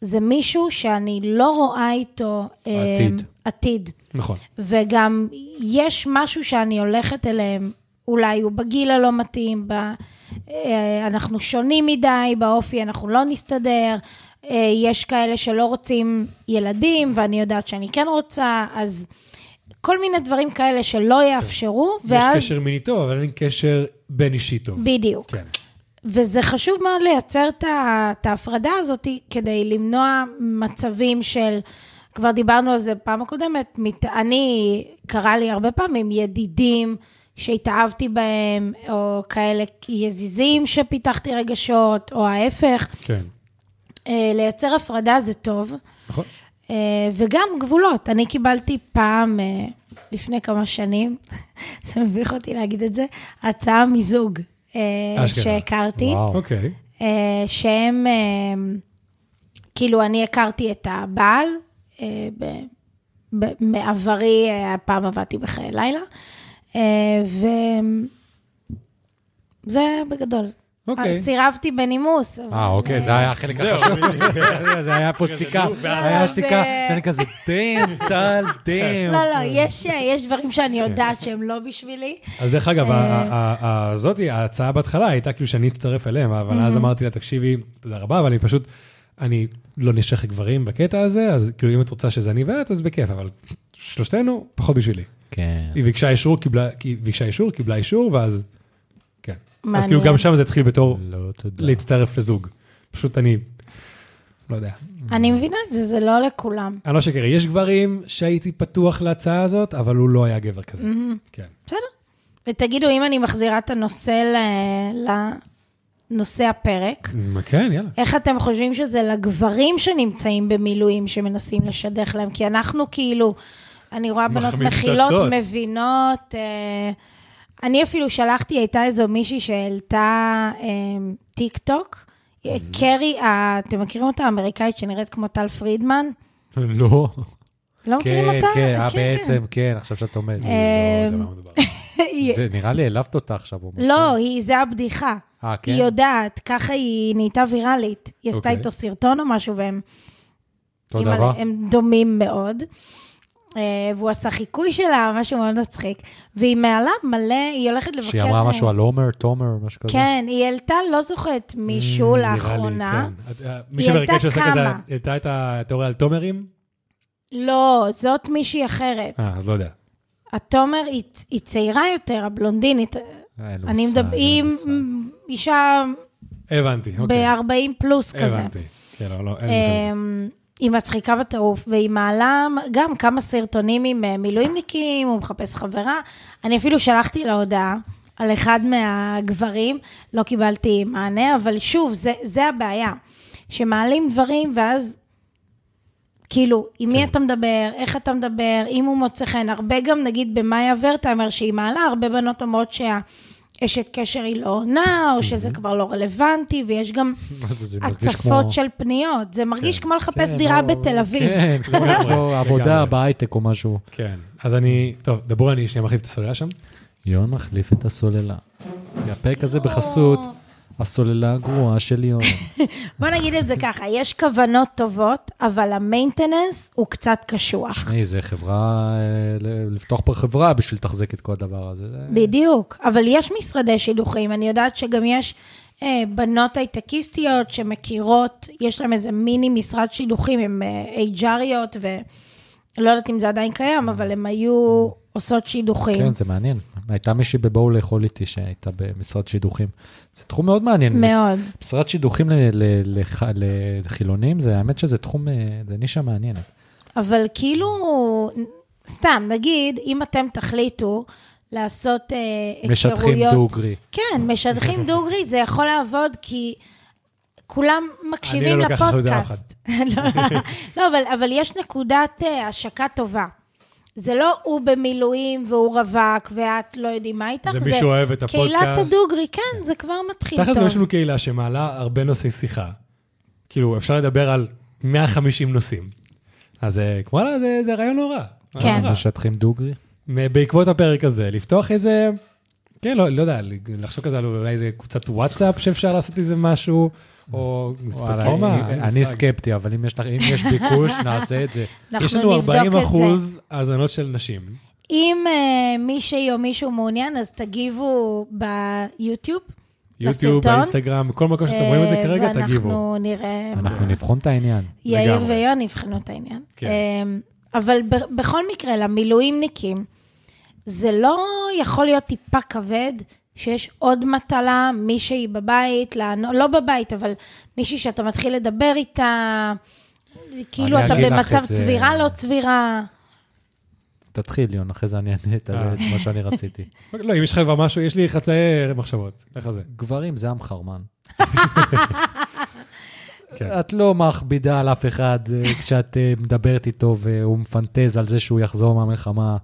C: זה מישהו שאני לא רואה איתו... אה,
B: עתיד.
C: עתיד.
A: נכון.
C: וגם יש משהו שאני הולכת אליהם, אולי הוא בגיל הלא מתאים, ב... אה, אנחנו שונים מדי באופי, אנחנו לא נסתדר, אה, יש כאלה שלא רוצים ילדים, ואני יודעת שאני כן רוצה, אז כל מיני דברים כאלה שלא יאפשרו, ואז...
A: כן. יש קשר מיני טוב, אבל אין קשר בין אישי טוב.
C: בדיוק.
A: כן.
C: וזה חשוב מאוד לייצר את ה- את ההפרדה הזאת כדי למנוע מצבים של, כבר דיברנו על זה פעם הקודמת, מת, אני, קרה לי הרבה פעמים, ידידים שהתאהבתי בהם, או כאלה יזיזים שפיתחתי רגשות, או ההפך.
A: כן.
C: אה, לייצר הפרדה זה טוב,
A: נכון.
C: אה, וגם גבולות. אני קיבלתי פעם, אה, לפני כמה שנים, <laughs> זה מביך אותי להגיד את זה, הצעה מזוג אה,
A: אשכרה.
C: שהכרתי.
B: וואו.
A: אוקיי.
C: אה, שהם, אה, כאילו, אני הכרתי את הבעל, אה, ב- ב- מעברי, אה, פעם עבדתי בחיי לילה, אה, ו... זה בגדול.
A: אוקיי.
C: סירבתי בנימוס. אבל-
B: אה, אוקיי, זה היה החלק החשוב. אה, זה היה פה שתיקה,
D: נו,
A: אה,
D: ואז-
B: היה
C: לא,
B: שתיקה,
C: זה-
A: כן,
B: שאני כזה, דאם, טל, דאם.
C: לא, לא, יש, יש דברים שאני
A: כן.
C: יודעת שהם לא בשבילי.
A: אז דרך אגב, ה- ה- ה- ה- זאתי, ההצעה בהתחלה הייתה כאילו שאני אצטרף אליהם, אבל אז אמרתי לה, תקשיבי, תודה רבה, אבל אני פשוט, אני לא נשך גברים בקטע הזה, אז כאילו אם את רוצה שזה אני ואת, אז בכיף, אבל שלושתנו, פחות בשבילי.
B: <laughs> כן.
A: היא ביקשה אישור, קיבלה, היא ביקשה אישור, קיבלה אישור, ואז, כן. אז
C: מעניין.
A: כאילו גם שם זה התחיל בתור
B: לא, תודה.
A: להצטרף לזוג. פשוט אני, לא יודע.
C: אני מבינה את זה, זה לא לכולם.
A: אני לא שקר, יש גברים שהייתי פתוח להצעה הזאת, אבל הוא לא היה גבר כזה. כן.
C: בסדר. ותגידו, אם אני מחזירה את הנושא ל- לנושא הפרק,
A: כן, <laughs> יאללה.
C: איך אתם חושבים שזה לגברים שנמצאים במילואים שמנסים לשדך להם? כי אנחנו כאילו, אני רואה בנות
D: מחמיץ
C: מכילות,
D: פצצות.
C: מבינות. אה, אני אפילו שלחתי, הייתה איזו מישהי שהעלתה אה, טיק טוק. קרי, ה- אתם מכירים אותה? האמריקאית שנראית כמו טל פרידמן?
B: לא.
C: לא מכירים
B: כן,
C: אותה?
B: כן, אה,
C: כן. אה,
B: בעצם, כן, עכשיו שאת אומרת.
A: לא יודע למה מדובר.
C: <laughs> היא-
B: זה נראה לי העלבת אותה עכשיו או משהו.
C: לא, היא, זה הבדיחה.
B: אה, כן?
C: היא יודעת, ככה היא נהייתה ויראלית. היא עשתה
A: אוקיי.
C: איתו סרטון או משהו, והם
B: אותו
C: אימא'לה,
B: דבר?
C: הם דומים מאוד. אה, והוא עשה חיקוי שלה, משהו מאוד מצחיק. והיא מעלה מלא, היא הולכת לבקר... אה,
B: שהיא אמרה משהו על עומר, תומר, משהו כזה?
C: כן, היא העלתה, לא זוכרת מישהו
A: Mm, נראה לי,
C: לאחרונה.
A: כן. את- אה, מי
C: היא
A: שבמרכז
C: העלתה
A: שעשה כזה,
C: כמה.
A: העלתה את התיאוריה על תומרים?
C: לא, זאת מישהי אחרת.
A: אה, אז לא יודע.
C: התומר היא- היא צעירה יותר, הבלונדינית.
B: אין לו
C: אני
B: מושג,
C: מדבר...
B: אין
C: היא
B: לו מושג.
C: אישה
A: הבנתי, אוקיי.
C: ב-40 פלוס כזה.
A: הבנתי. כן, לא, לא, אין לי מושג.
C: אמ, היא מצחיקה בטירוף, והיא מעלה גם כמה סרטונים עם אה, מילואימניקים, הוא מחפש חברה. אני אפילו שלחתי לה הודעה על אחד מהגברים, לא קיבלתי מענה, אבל שוב, זה, זה הבעיה. שמעלים דברים, ואז כאילו, עם מי אתה מדבר, איך אתה מדבר, אם הוא מוצא חן. הרבה גם, נגיד, במאיה ורטהיימר, שהיא מעלה, הרבה בנות אומרות שהאשת קשר היא לא עונה, או שזה כבר לא רלוונטי, ויש גם...
B: מה זה, זה מרגיש
C: הצפות
B: כמו-
C: של פניות, זה מרגיש כמו לחפש
B: כן,
C: דירה
B: או-
C: בתל אביב.
B: כן, כמו
C: <laughs>
B: למצוא עבודה
A: לא, לגמרי.
B: בהייטק או משהו.
A: כן, אז אני, טוב, דברו, אני שנייה מחליף את הסוללה שם.
B: יון מחליף את הסוללה. הפרק הזה בחסות הסוללה הגרועה של
C: <laughs>
B: יון.
C: בוא נגיד את זה ככה, יש כוונות טובות, אבל המיינטננס הוא קצת קשוח.
B: תשמעי, זה חברה, אה, ל- לפתוח פה חברה בשביל לתחזק את כל הדבר הזה. זה-
C: בדיוק, אבל יש משרדי שידוכים, אני יודעת שגם יש אה, בנות הייטקיסטיות שמכירות, יש להן איזה מיני משרד שידוכים עם אה, אייג'ריות, ולא לא יודעת אם זה עדיין קיים, אבל הן היו עושות שידוכים.
B: כן, זה מעניין. הייתה מישהי בבואו לאכול איתי שהייתה במשרד שידוכים. זה תחום מאוד מעניין.
C: מאוד.
B: מש- משרד שידוכים ל- ל- לח- לחילונים, זה האמת שזה תחום, אה, זה נישה מעניינת.
C: אבל כאילו, סתם, נגיד, אם אתם תחליטו לעשות אה, היכרויות...
B: משטחים דוגרי.
C: כן, משדכים דוגרי, זה יכול לעבוד כי כולם מקשיבים
A: אני לא לוקח אחריות על אף
C: לפודקאסט. <laughs> לא, לא, אבל, אבל יש נקודת אה, השקה טובה. זה לא הוא במילואים והוא רווק ואת לא יודעים מה איתך,
A: זה מי שאוהב את
C: קהילת
A: הפודקאסט.
C: הדוגרי, כן, זה כבר מתחיל
A: תכל'ס
C: טוב.
A: יש לנו קהילה שמעלה הרבה נושאי שיחה. כאילו, אפשר לדבר על 150 נושאים. אז אה, וואלה, זה- זה רעיון לא רע. רעיון
C: כן.
A: לא רע.
B: משטחים דוגרי.
A: בעקבות הפרק הזה, לפתוח איזה, כן, לא, לא יודע, לחשוב כזה על אולי איזה קבוצת וואטסאפ שאפשר לעשות איזה משהו, או
B: וואלה,
A: פלטפורמה.
B: אה, אני- אני סקפטי, אבל אם יש לך- אם
A: <laughs>
B: יש
C: <laughs>
B: ביקוש, נעשה את זה.
A: יש
C: אנחנו
A: לנו
C: נבדוק
A: 40
C: את זה.
A: אחוז האזנות של נשים.
C: אם אה, מישהי או מישהו מעוניין, אז תגיבו ביוטיוב.
A: יוטיוב,
C: בסרטון.
A: באינסטגרם, כל מקום שאתם רואים את זה
C: אה,
A: כרגע, תגיבו.
C: ואנחנו נראה...
B: אנחנו נבחון את העניין.
C: יאיר
A: לגמרי.
C: ויון יבחנו את העניין.
A: כן.
C: אה, אבל ב- בכל מקרה, למילואימניקים, זה לא יכול להיות טיפה כבד שיש עוד מטלה, מישהי בבית, לענו- לא בבית, אבל מישהי שאתה מתחיל לדבר איתה, כאילו
B: אני
C: אתה
B: אגיד לך את
C: במצב
B: זה.
C: צבירה, לא צבירה.
B: תתחיל, יון, אחרי זה אני אענה את ה-
A: אה.
B: את מה שאני רציתי.
A: לא, אם יש לך כבר משהו, יש לי חצאי מחשבות, לך זה.
B: גברים זה עם חרמן.
A: כן.
B: את לא מכבידה על אף אחד אה, כשאת אה, מדברת איתו והוא מפנטז על זה שהוא יחזור מהמלחמה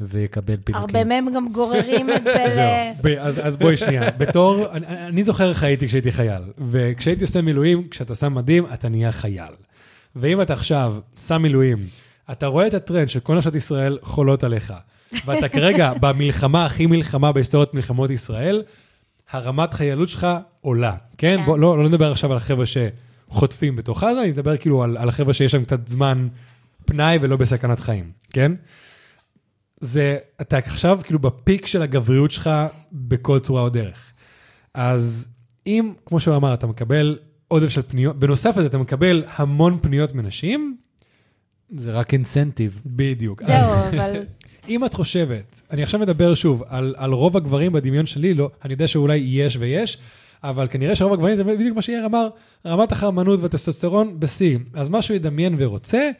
B: ויקבל
C: הרבה
B: פינוקים.
C: מהם גם גוררים את
B: <laughs>
C: זה ל...
A: ב- אז אז בואי שנייה, בתור, אני- אני זוכר איך הייתי כשהייתי חייל, וכשהייתי עושה מילואים, כשאתה שם מדים, אתה נהיה חייל. ואם אתה עכשיו שם מילואים, אתה רואה את הטרנד שכל נשות ישראל חולות עליך, ואתה כרגע במלחמה הכי מלחמה בהיסטוריית מלחמות ישראל, הרמת חיילות שלך עולה, כן? בוא, לא, לא נדבר עכשיו על החבר'ה שחוטפים בתוך עזה, אני מדבר כאילו על, על החבר'ה שיש להם קצת זמן פנאי ולא בסכנת חיים, כן? זה, אתה עכשיו כאילו בפיק של הגבריות שלך בכל צורה או דרך. אז אם, כמו שהוא אמר, אתה מקבל עודף של פניות, בנוסף לזה אתה מקבל המון פניות מנשים,
B: זה רק אינסנטיב.
A: בדיוק. אז-
C: זהו,
A: <laughs>
C: אבל
A: אם את חושבת, אני עכשיו מדבר שוב על, על רוב הגברים בדמיון שלי, לא, אני יודע שאולי יש ויש, אבל כנראה שרוב הגברים זה בדיוק מה שיאיר אמר, רמת החרמנות והטסטוסטרון בשיא. אז מה שהוא ידמיין ורוצה,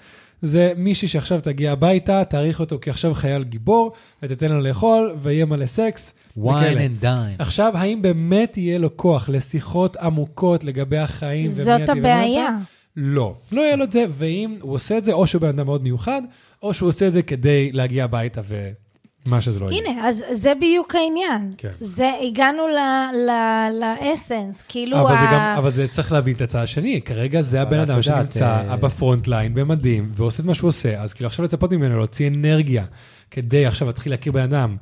A: זה מישהי שעכשיו תגיע הביתה, תעריך אותו כעכשיו חייל גיבור, ותיתן לו לאכול, ויהיה מלא סקס. וכאלה.
B: dine.
A: עכשיו, האם באמת יהיה לו כוח לשיחות עמוקות לגבי החיים? ומי
C: זאת
A: אתה ומי
C: הבעיה.
A: אתה? לא, לא יהיה לו את זה, ואם הוא עושה את זה, או שהוא בן אדם מאוד מיוחד, או שהוא עושה את זה כדי להגיע הביתה ומה שזה לא יהיה.
C: הנה, אז זה בדיוק העניין.
A: כן.
C: זה, הגענו ל- ל- לאסנס, כאילו...
A: אבל זה
C: ה-
A: גם, אבל זה צריך להבין את הצד השני, כרגע זה
B: אבל
A: הבן
B: את
A: אדם
B: יודעת,
A: שנמצא
B: אה,
A: בפרונט ליין, במדים, ועושה את מה שהוא עושה, אז כאילו עכשיו לצפות ממנו להוציא אנרגיה, כדי עכשיו להתחיל להכיר בן אדם.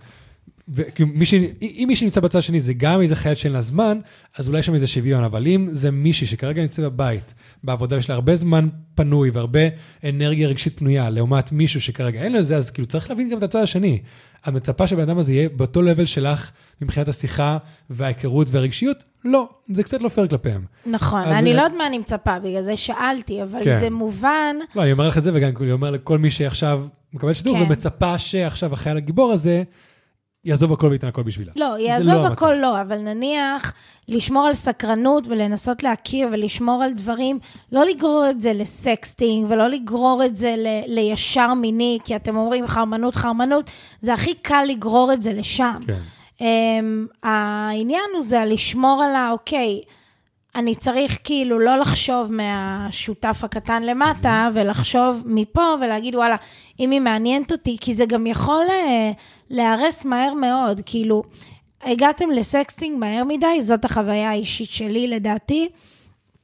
A: וכאילו מי ש... אם מי שנמצא בצד השני זה גם איזה חייל שאין לה זמן, אז אולי יש שם איזה שוויון, אבל אם זה מישהי שכרגע נמצאת בבית, בעבודה יש לה הרבה זמן פנוי והרבה אנרגיה רגשית פנויה, לעומת מישהו שכרגע אין לו את זה, אז כאילו צריך להבין גם את הצד השני. את מצפה שהבן אדם הזה יהיה באותו level שלך מבחינת השיחה וההיכרות והרגשיות? לא, זה קצת לא פייר כלפיהם.
C: נכון,
A: אז
C: אני
A: מן-
C: לא יודעת מה אני מצפה, בגלל זה שאלתי, אבל
A: כן.
C: זה מובן,
A: לא, אני אומר לך את זה, וגם אני אומר לכל מי שעכשיו מקבל שידור
C: כן.
A: ומצפה שעכשיו החייל הגיבור הזה יעזוב הכל וייתן הכל בשבילה.
C: לא,
A: זה
C: יעזוב
A: המצב.
C: הכל לא, אבל נניח לשמור על סקרנות ולנסות להכיר ולשמור על דברים, לא לגרור את זה לסקסטינג ולא לגרור את זה ל- לישר מיני, כי אתם אומרים חרמנות, חרמנות, זה הכי קל לגרור את זה לשם.
A: כן.
C: אמ, העניין הוא זה לשמור על ה... אוקיי, אני צריך כאילו לא לחשוב מהשותף הקטן למטה, ולחשוב מפה ולהגיד, וואלה, אם היא מעניינת אותי, כי זה גם יכול אה, להיהרס מהר מאוד, כאילו, הגעתם לסקסטינג מהר מדי, זאת החוויה האישית שלי לדעתי.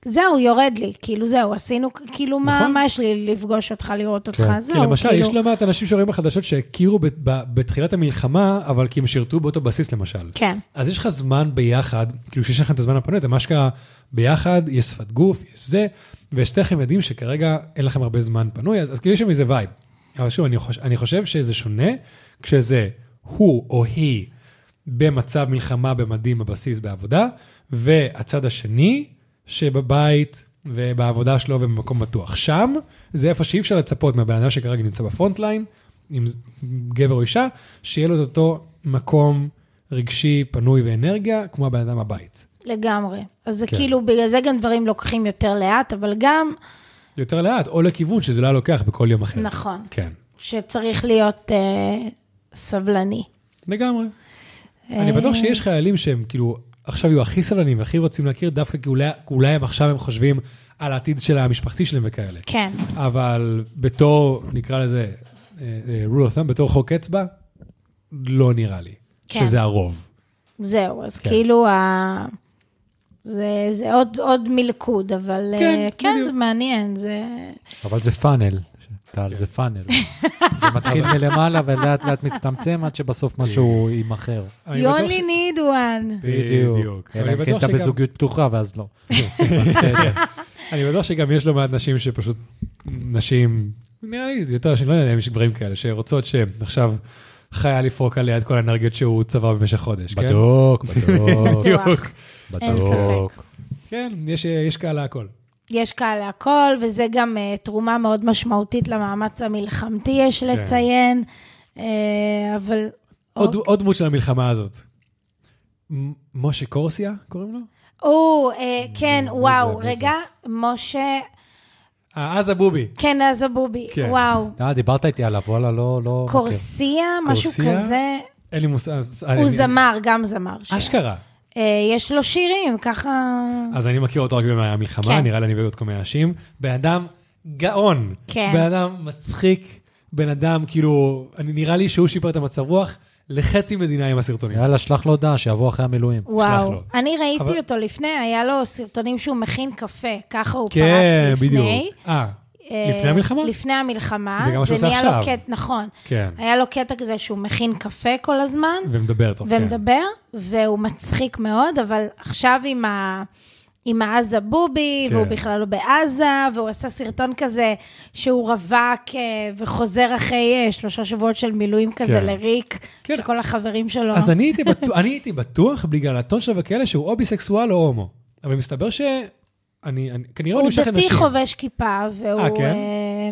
C: זהו, יורד לי, כאילו זהו, עשינו, כאילו מה,
A: נכון.
C: מה יש לי לפגוש אותך, לראות אותך,
B: כן.
C: זהו,
A: כי למשל,
C: כאילו,
A: יש לא מעט אנשים שרואים בחדשות שהכירו בת- ב- בתחילת המלחמה, אבל כי הם שירתו באותו בסיס למשל.
C: כן.
A: אז יש לך זמן ביחד, כאילו שיש לכם את הזמן הפנוי, אתם אשכרה ביחד, יש שפת גוף, יש זה, ושתיכם יודעים שכרגע אין לכם הרבה זמן פנוי, אז, אז כאילו יש שם איזה וייב. אבל שוב, אני חושב, אני חושב שזה שונה כשזה הוא או היא במצב מלחמה במדים בבסיס בעבודה, והצד השני שבבית ובעבודה שלו ובמקום בטוח. שם זה איפה שאי אפשר לצפות מהבן אדם שכרגע נמצא בפרונט ליין, אם זה גבר או אישה, שיהיה לו את אותו מקום רגשי, פנוי ואנרגיה, כמו הבן אדם בבית.
C: לגמרי. אז זה
A: כן.
C: כאילו, בגלל זה גם דברים לוקחים יותר לאט, אבל גם,
A: יותר לאט, או לכיוון שזה לא היה לוקח בכל יום אחר.
C: נכון,
A: כן,
C: שצריך להיות אה, סבלני.
A: לגמרי.
C: אה.
A: אני בטוח שיש חיילים שהם כאילו, עכשיו יהיו הכי סבלנים והכי רוצים להכיר, דווקא כי אולי- כי אולי הם עכשיו הם חושבים על העתיד של המשפחתי שלהם וכאלה.
C: כן,
A: אבל בתור, נקרא לזה, אה, אה, rule of thumb, בתור חוק אצבע, לא נראה לי
C: כן.
A: שזה הרוב.
C: זהו, אז
A: כן.
C: כאילו, ה... זה, זה עוד, עוד מלכוד, אבל אה,
A: כן,
C: כן
A: בדיוק.
C: זה מעניין, זה...
B: אבל זה פאנל, טל, זה פאנל. זה מתחיל מלמעלה ולאט לאט מצטמצם עד שבסוף משהו יימכר.
A: אני
C: You
A: בטוח
C: only need one.
A: בדיוק.
B: אלא
A: אני
B: אם כן
A: בטוח
B: אתה
A: שגם-
B: בזוגיות פתוחה ואז לא.
A: אני בטוח שגם יש לא מעט נשים שפשוט, נשים, נראה לי זה יותר, שאני לא יודע אם יש גברים כאלה, שרוצות שעכשיו חיה לפרוק עליה את כל האנרגיות שהוא צבר במשך חודש, כן?
B: בדוק, בדוק,
A: בדיוק.
C: אין
B: בדוק.
C: ספק.
A: <laughs> כן, יש- יש קהל להכל.
C: יש קהל להכל, וזה גם אה, תרומה מאוד משמעותית למאמץ המלחמתי,
A: כן.
C: יש לציין, אה, אבל...
A: עוד
C: אוקיי.
A: עוד דמות של המלחמה הזאת. מ- משה קורסיה, קוראים לו?
C: או, אה, כן, וואו,
B: מי זה?
C: רגע, משה,
A: אה, עזה בובי.
C: כן, אז הבובי,
A: כן.
C: וואו.
B: אה, דיברת איתי עליו, וואלה, לא... לא מכיר.
C: קורסיה, משהו
A: קורסיה?
C: כזה.
A: אין לי מושג. אז- אה, אני-
C: הוא זמר, גם זמר. ש-
A: אשכרה.
C: אה, יש לו שירים, ככה...
A: אז אני מכיר אותו רק מהמלחמה,
C: כן.
A: נראה לי אני ועוד כל מיני אנשים. בן אדם גאון.
C: כן.
A: בן אדם מצחיק, בן אדם, כאילו, אני- נראה לי שהוא שיפר את המצב רוח לחצי מדינה עם הסרטונים.
B: יאללה, שלח לו הודעה, שיבוא אחרי המילואים.
C: וואו.
A: לו.
C: אני
A: אבל-
C: ראיתי אותו לפני, היה לו סרטונים שהוא מכין קפה, ככה הוא פרץ
A: כן,
C: לפני.
A: בדיוק. אה,
C: אה,
A: לפני המלחמה?
C: לפני המלחמה.
A: זה גם מה שהוא עושה
C: נהיה לו
A: עכשיו.
C: קט- נכון.
A: כן.
C: היה לו קטע כזה שהוא מכין קפה כל הזמן,
A: ומדבר תוך כן.
C: ומדבר, והוא מצחיק מאוד, אבל עכשיו עם ה... עם העזה בובי,
A: כן.
C: כן. והוא בכלל לא בעזה, והוא עשה סרטון כזה שהוא רווק אה, וחוזר אחרי אה, שלושה שבועות של מילואים כזה
A: כן.
C: כן. לריק,
A: כן.
C: כן. שכל החברים שלו...
A: אז אני הייתי, בטוח, אני הייתי בטוח, בגלל הטון שלו וכאלה, שהוא או ביסקסואל או הומו. אבל מסתבר ש... אני, אני, כנראה הוא
C: הוא
A: נמשך לנשים.
C: דתי חובש כיפה, והוא...
A: אה, כן?
C: אה,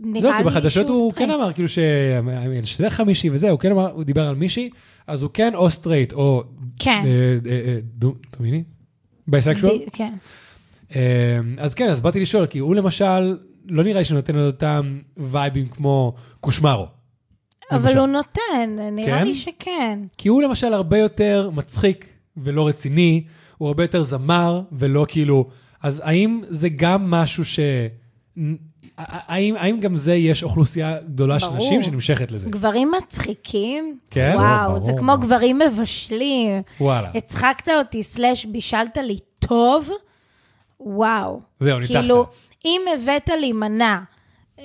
C: נראה
A: זהו, כי
C: לי
A: בחדשות
C: שהוא
A: הוא
C: סטרייט.
A: כן אמר, כאילו ש... שזה חמישי וזה, הוא כן אמר, הוא דיבר על מישהי, אז הוא כן או סטרייט או...
C: כן.
A: אה, אה, אה, דו- דומיני? בייסקשואל?
C: ב- כן.
A: אה, אז כן, אז באתי לשאול, כי הוא למשל, לא נראה לי שנותן לו אותם וייבים כמו קושמרו. למשל.
C: אבל הוא נותן, נראה
A: כן?
C: לי שכן.
A: כי הוא למשל הרבה יותר מצחיק ולא רציני, הוא הרבה יותר זמר ולא כאילו... אז האם זה גם משהו ש... נ- האם, האם גם זה יש אוכלוסייה גדולה של
C: ברור.
A: נשים שנמשכת לזה?
C: גברים מצחיקים?
A: כן?
C: וואו,
B: ברור,
C: זה
B: ברור.
C: כמו גברים מבשלים.
A: וואלה.
C: הצחקת אותי, סלאש בישלת לי טוב, וואו.
A: זהו, ניצחת.
C: כאילו, אם הבאת לי מנה, אה,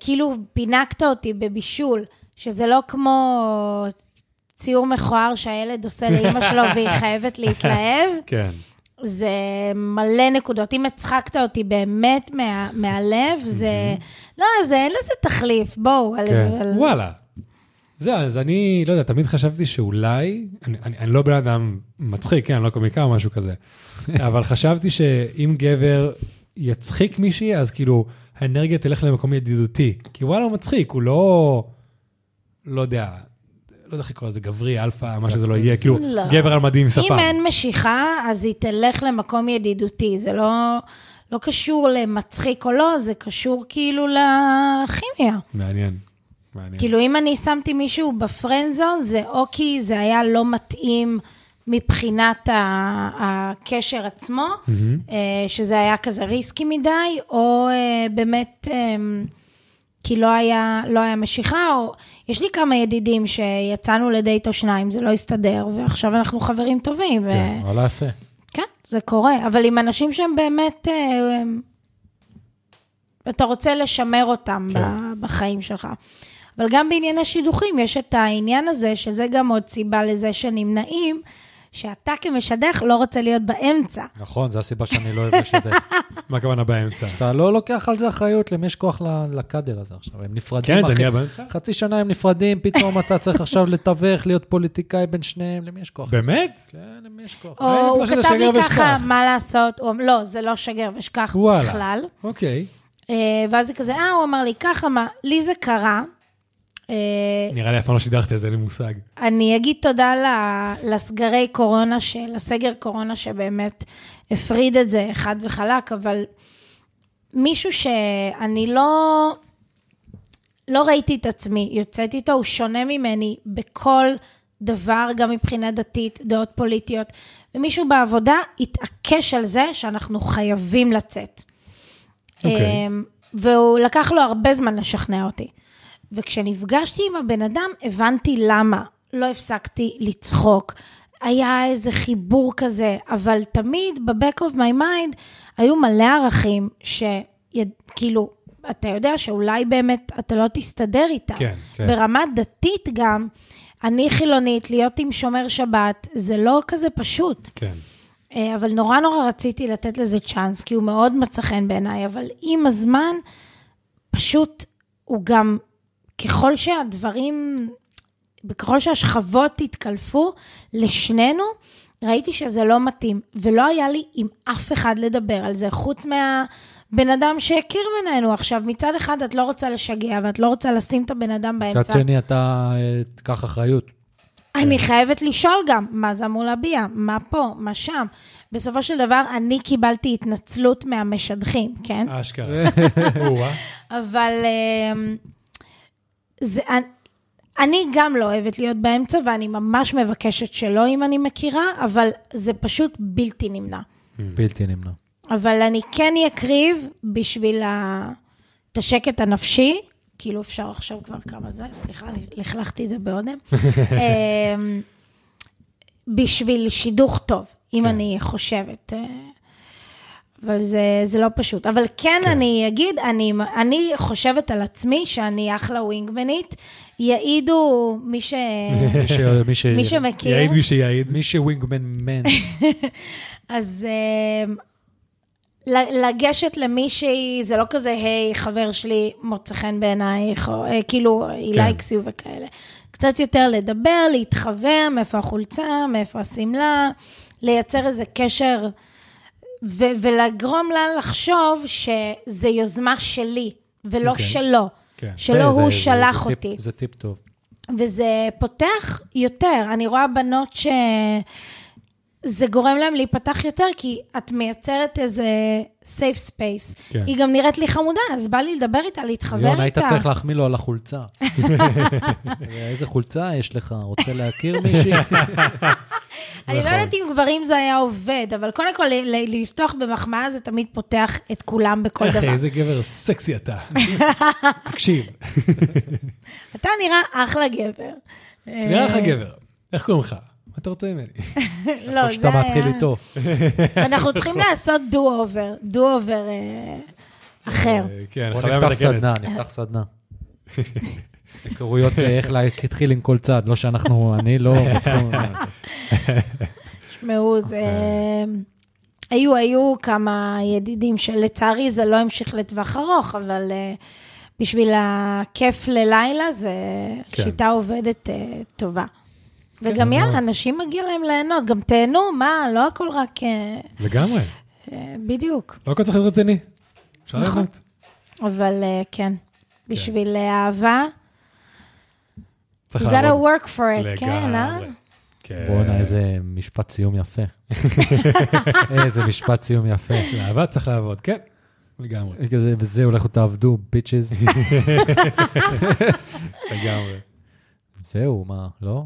C: כאילו פינקת אותי בבישול, שזה לא כמו ציור מכוער שהילד עושה לאימא שלו
A: <laughs>
C: והיא חייבת להתלהב,
A: כן.
C: זה מלא נקודות. אם הצחקת אותי באמת מה, מהלב, זה... לא, זה אין לזה תחליף, בואו. על-
A: כן.
C: על-
A: וואלה. זהו, אז אני, לא יודע, תמיד חשבתי שאולי, אני, אני, אני לא בן אדם מצחיק, כן, אני לא קומיקה או משהו כזה, אבל חשבתי שאם גבר יצחיק מישהי, אז כאילו, האנרגיה תלך למקום ידידותי. כי וואלה, הוא מצחיק, הוא לא, לא יודע, לא יודע איך לקרוא לזה, גברי, אלפא, מה שזה לא יהיה, כאילו,
C: לא.
A: גבר על מדים עם שפה.
C: אם אין משיכה, אז היא תלך למקום ידידותי. זה לא, לא קשור למצחיק או לא, זה קשור כאילו לכימיה.
A: מעניין, מעניין.
C: כאילו, אם אני שמתי מישהו בפרנד זון, זה או כי זה היה לא מתאים מבחינת ה- הקשר עצמו, אה, שזה היה כזה ריסקי מדי, או אה, באמת, אה, כי לא היה, לא היה משיכה, או... יש לי כמה ידידים שיצאנו לדייט או שניים, זה לא הסתדר, ועכשיו אנחנו חברים טובים. ו-
B: כן, וואלה
A: לא
B: יפה.
C: כן, זה קורה, אבל עם אנשים שהם באמת... אה, הם- אתה רוצה לשמר אותם
A: כן.
C: ב- בחיים שלך. אבל גם בעניין השידוכים יש את העניין הזה, שזה גם עוד סיבה לזה שנמנעים, שאתה כמשדך לא רוצה להיות באמצע.
B: נכון, זו הסיבה שאני לא אוהב
C: <laughs>
B: לשדר.
A: מה הכוונה באמצע?
B: אתה לא לוקח על זה אחריות, למי יש כוח ל- לקאדר הזה עכשיו? הם נפרדים.
A: כן,
B: אחי.
A: דניאל באמצע?
B: חצי שנה הם נפרדים, פתאום אתה צריך עכשיו לתווך, להיות פוליטיקאי בין שניהם, למי יש כוח?
A: באמת?
B: כן, למי יש כוח?
C: או
A: אני
C: הוא
A: בטוח שזה
C: כתב לי
A: שגר
C: ככה,
A: לא ושכח.
C: מה לעשות? הוא אמר, לא, זה לא שגר ושכח
A: וואלה.
C: בכלל.
A: אוקיי.
C: אה, ואז זה כזה, אה, הוא אמר לי ככה, מה? לי זה קרה. אה,
A: נראה לי אף פעם לא שידכתי את זה, אין לי מושג.
C: אני אגיד תודה ל- לסגרי קורונה, ש- לסגר קורונה שבאמת הפריד את זה חד וחלק, אבל מישהו שאני לא, לא ראיתי את עצמי יוצאת איתו, הוא שונה ממני בכל דבר, גם מבחינה דתית, דעות פוליטיות, ומישהו בעבודה התעקש על זה שאנחנו חייבים לצאת.
A: אוקיי.
C: אמ, והוא לקח לו הרבה זמן לשכנע אותי. וכשנפגשתי עם הבן אדם, הבנתי למה. לא הפסקתי לצחוק. היה איזה חיבור כזה, אבל תמיד ב-back of my mind היו מלא ערכים שכאילו, אתה יודע שאולי באמת אתה לא תסתדר איתם.
A: כן, כן.
C: ברמה דתית גם, אני חילונית, להיות עם שומר שבת, זה לא כזה פשוט.
A: כן.
C: אה, אבל נורא נורא רציתי לתת לזה צ'אנס, כי הוא מאוד מצא חן בעיניי, אבל עם הזמן, פשוט הוא גם, ככל שהדברים, ככל שהשכבות התקלפו לשנינו, ראיתי שזה לא מתאים, ולא היה לי עם אף אחד לדבר על זה, חוץ מהבן אדם שהכיר בינינו עכשיו. מצד אחד, את לא רוצה לשגע, ואת לא רוצה לשים את הבן אדם באמצע.
B: מצד שני, אתה אה,
A: <laughs>
B: תיקח אחריות.
C: אני חייבת לשאול גם, מה זה אמור להביע? מה פה? מה שם? בסופו של דבר, אני קיבלתי התנצלות מהמשדכים,
A: אה.
C: כן?
B: <laughs>
A: אשכרה. או-אה.
C: אבל אמ, זה... אני- אני גם לא אוהבת להיות באמצע, ואני ממש מבקשת שלא, אם אני מכירה, אבל זה פשוט בלתי נמנע.
B: בלתי נמנע.
C: אבל אני כן אקריב בשביל ה... את השקט הנפשי, כאילו אפשר עכשיו כבר כמה זה, סליחה, לכלכתי את זה באודם. אמ, בשביל שידוך טוב, אם אני חושבת. אה, אבל זה, זה לא פשוט. אבל כן, כן. אני אגיד, אני, אני חושבת על עצמי שאני אחלה ווינגמנית. יעידו מי, ש...
B: מי ש... מי ש...
C: מי שמכיר.
A: יעיד מי שיעיד.
B: מי שווינגמן מן.
C: אז אה, ל- לגשת למישהי, זה לא כזה, היי, חבר שלי, מוצא חן בעינייך, או אה, כאילו, היא
A: כן.
C: לייקס יו וכאלה. קצת יותר לדבר, להתחבר, מאיפה החולצה, מאיפה השמלה, לייצר איזה קשר, ו- ולגרום לה לחשוב שזה יוזמה שלי, ולא okay.
A: אוקיי.
C: שלו.
A: כן.
C: שלא
B: זה-
C: הוא
B: זה- זה-
C: שלח
B: זה טיפ-
C: אותי.
B: זה טיפ טוב.
C: וזה פותח יותר. אני רואה בנות ש... זה גורם להן להיפתח יותר, כי את מייצרת איזה safe space.
A: כן.
C: כן. היא גם נראית לי חמודה, אז בא לי לדבר איתה, להתחבר איתה.
B: יון, היית צריך להחמיא לו על החולצה.
C: <laughs>
B: איזה חולצה יש לך? רוצה להכיר
C: <laughs>
B: מישהי?
C: לא, אני לא
A: נכון.
C: יודעת אם גברים זה היה עובד, אבל קודם כל, ל- ל- לפתוח במחמאה זה תמיד פותח את כולם בכל
A: אחי,
C: דבר. אה.
A: איזה גבר סקסי
C: <laughs>
A: אתה. תקשיב,
C: אתה נראה אחלה גבר.
A: נראה לך גבר. איך קוראים לך? מה אתה רוצה ממני?
C: לא,
B: או נכון שאתה
C: זה
B: מתחיל
C: היה...
B: איתו.
C: אנחנו צריכים לעשות דו-אובר, דו-אובר אה, אחר.
A: אה, כן,
B: בוא
A: חוויה
B: נפתח
A: מתקנת.
B: סדנה, נפתח סדנה. היכרויות אה, איך להתחיל עם כל צד, לא שאנחנו, אני
C: <laughs>
B: לא... בתחום.
C: תשמעו, זה...
B: אוקיי.
C: אמ, היו, היו כמה ידידים שלצערי זה לא המשיך לטווח ארוך, אבל אה, בשביל הכיף ללילה, זה
A: כן.
C: שיטה עובדת אה, טובה.
B: כן,
C: וגם יאללה, אנשים מגיע להם ליהנות, גם תהנו, מה, לא הכל רק... אה,
A: לגמרי.
C: אה, בדיוק.
A: לא הכל צריך להיות רציני. אפשר
C: נכון.
A: ליהנות.
C: אבל אה, כן, בשביל אה, אהבה,
B: <laughs>
C: you
A: צריך
C: gotta
A: לעבוד.
C: work for it, כן, אה?
A: לגמרי. כן.
B: בואנה, איזה משפט סיום
C: <laughs>
B: יפה. איזה משפט סיום יפה.
A: לעבוד צריך לעבוד, כן. לגמרי.
B: כזה, וזהו, לכו תעבדו, ביצ'ז.
C: <laughs>
A: לגמרי.
B: זהו, מה, לא?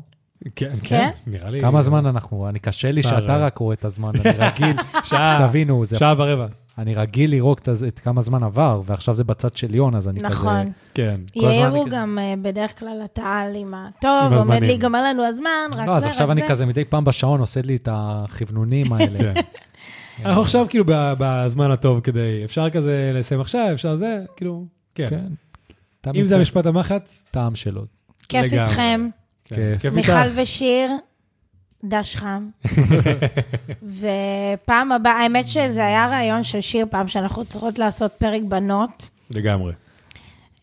A: כן, כן.
C: כן?
A: נראה לי...
B: כמה זמן אנחנו? אני קשה לי
C: אה,
A: שעה
B: שאתה
C: לא.
A: רבע.
B: רק רואה את הזמן, אני
C: <laughs>
B: רגיל, שתבינו, זה-
A: <laughs> שעה ורבע.
B: אני רגיל לראות את הז- את כמה זמן עבר, ועכשיו זה בצד של יון, אז אני כזה...
C: נכון.
A: כן.
B: כל הזמן
C: יאירו
B: אני כזה-
C: גם אה, בדרך כלל את העל עם ה...
A: עם
C: טוב, עומד
A: הזמנים.
C: להיגמר לנו הזמן, רק
B: לא, אז
C: זה, רק
B: עכשיו אני
C: זה."
B: כזה מדי פעם בשעון עושה לי את החבנונים האלה.
A: <laughs> כן.
B: אה.
A: אנחנו עכשיו כאילו ב- בזמן הטוב כדי, אפשר כזה לסיים עכשיו, אפשר זה, כאילו, כן.
B: כן.
A: אם זה המשפט המחץ,
B: טעם שלו.
C: כיף
A: לגמרי.
C: איתכם.
A: כן,
B: כיף.
A: כיף איתך.
C: מיכל ושיר, דש חם.
A: <laughs>
C: ופעם הבאה, האמת שזה היה רעיון של שיר פעם, שאנחנו צריכות לעשות פרק בנות.
A: לגמרי.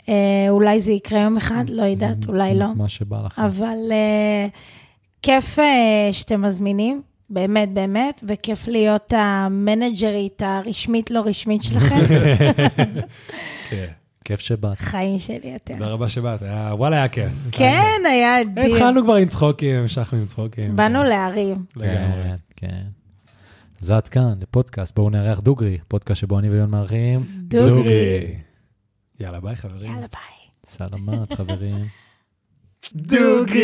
C: אה, אולי זה יקרה יום אחד, לא יודעת, אולי לא.
B: מה שבא לך.
C: אבל אה, כיף אה, שאתם מזמינים, באמת, באמת, וכיף להיות המנג'רית הרשמית, לא רשמית שלכם.
A: <laughs> כן.
B: כיף שבאת.
C: חיים שלי אתם.
A: תודה רבה שבאת, היה- וואלה, היה כיף. אה,
C: כן, היה אדיר.
A: התחלנו כבר עם צחוקים, המשכנו עם צחוקים.
C: באנו להרים.
A: לגמרי.
B: כן, כן. אז עד כאן, לפודקאסט, בואו נארח דוגרי, פודקאסט שבו אני ויון מארחים.
C: <laughs>
A: דוגרי. יאללה, ביי חברים.
C: יאללה, ביי.
B: סלמת, חברים.
A: דוגרי.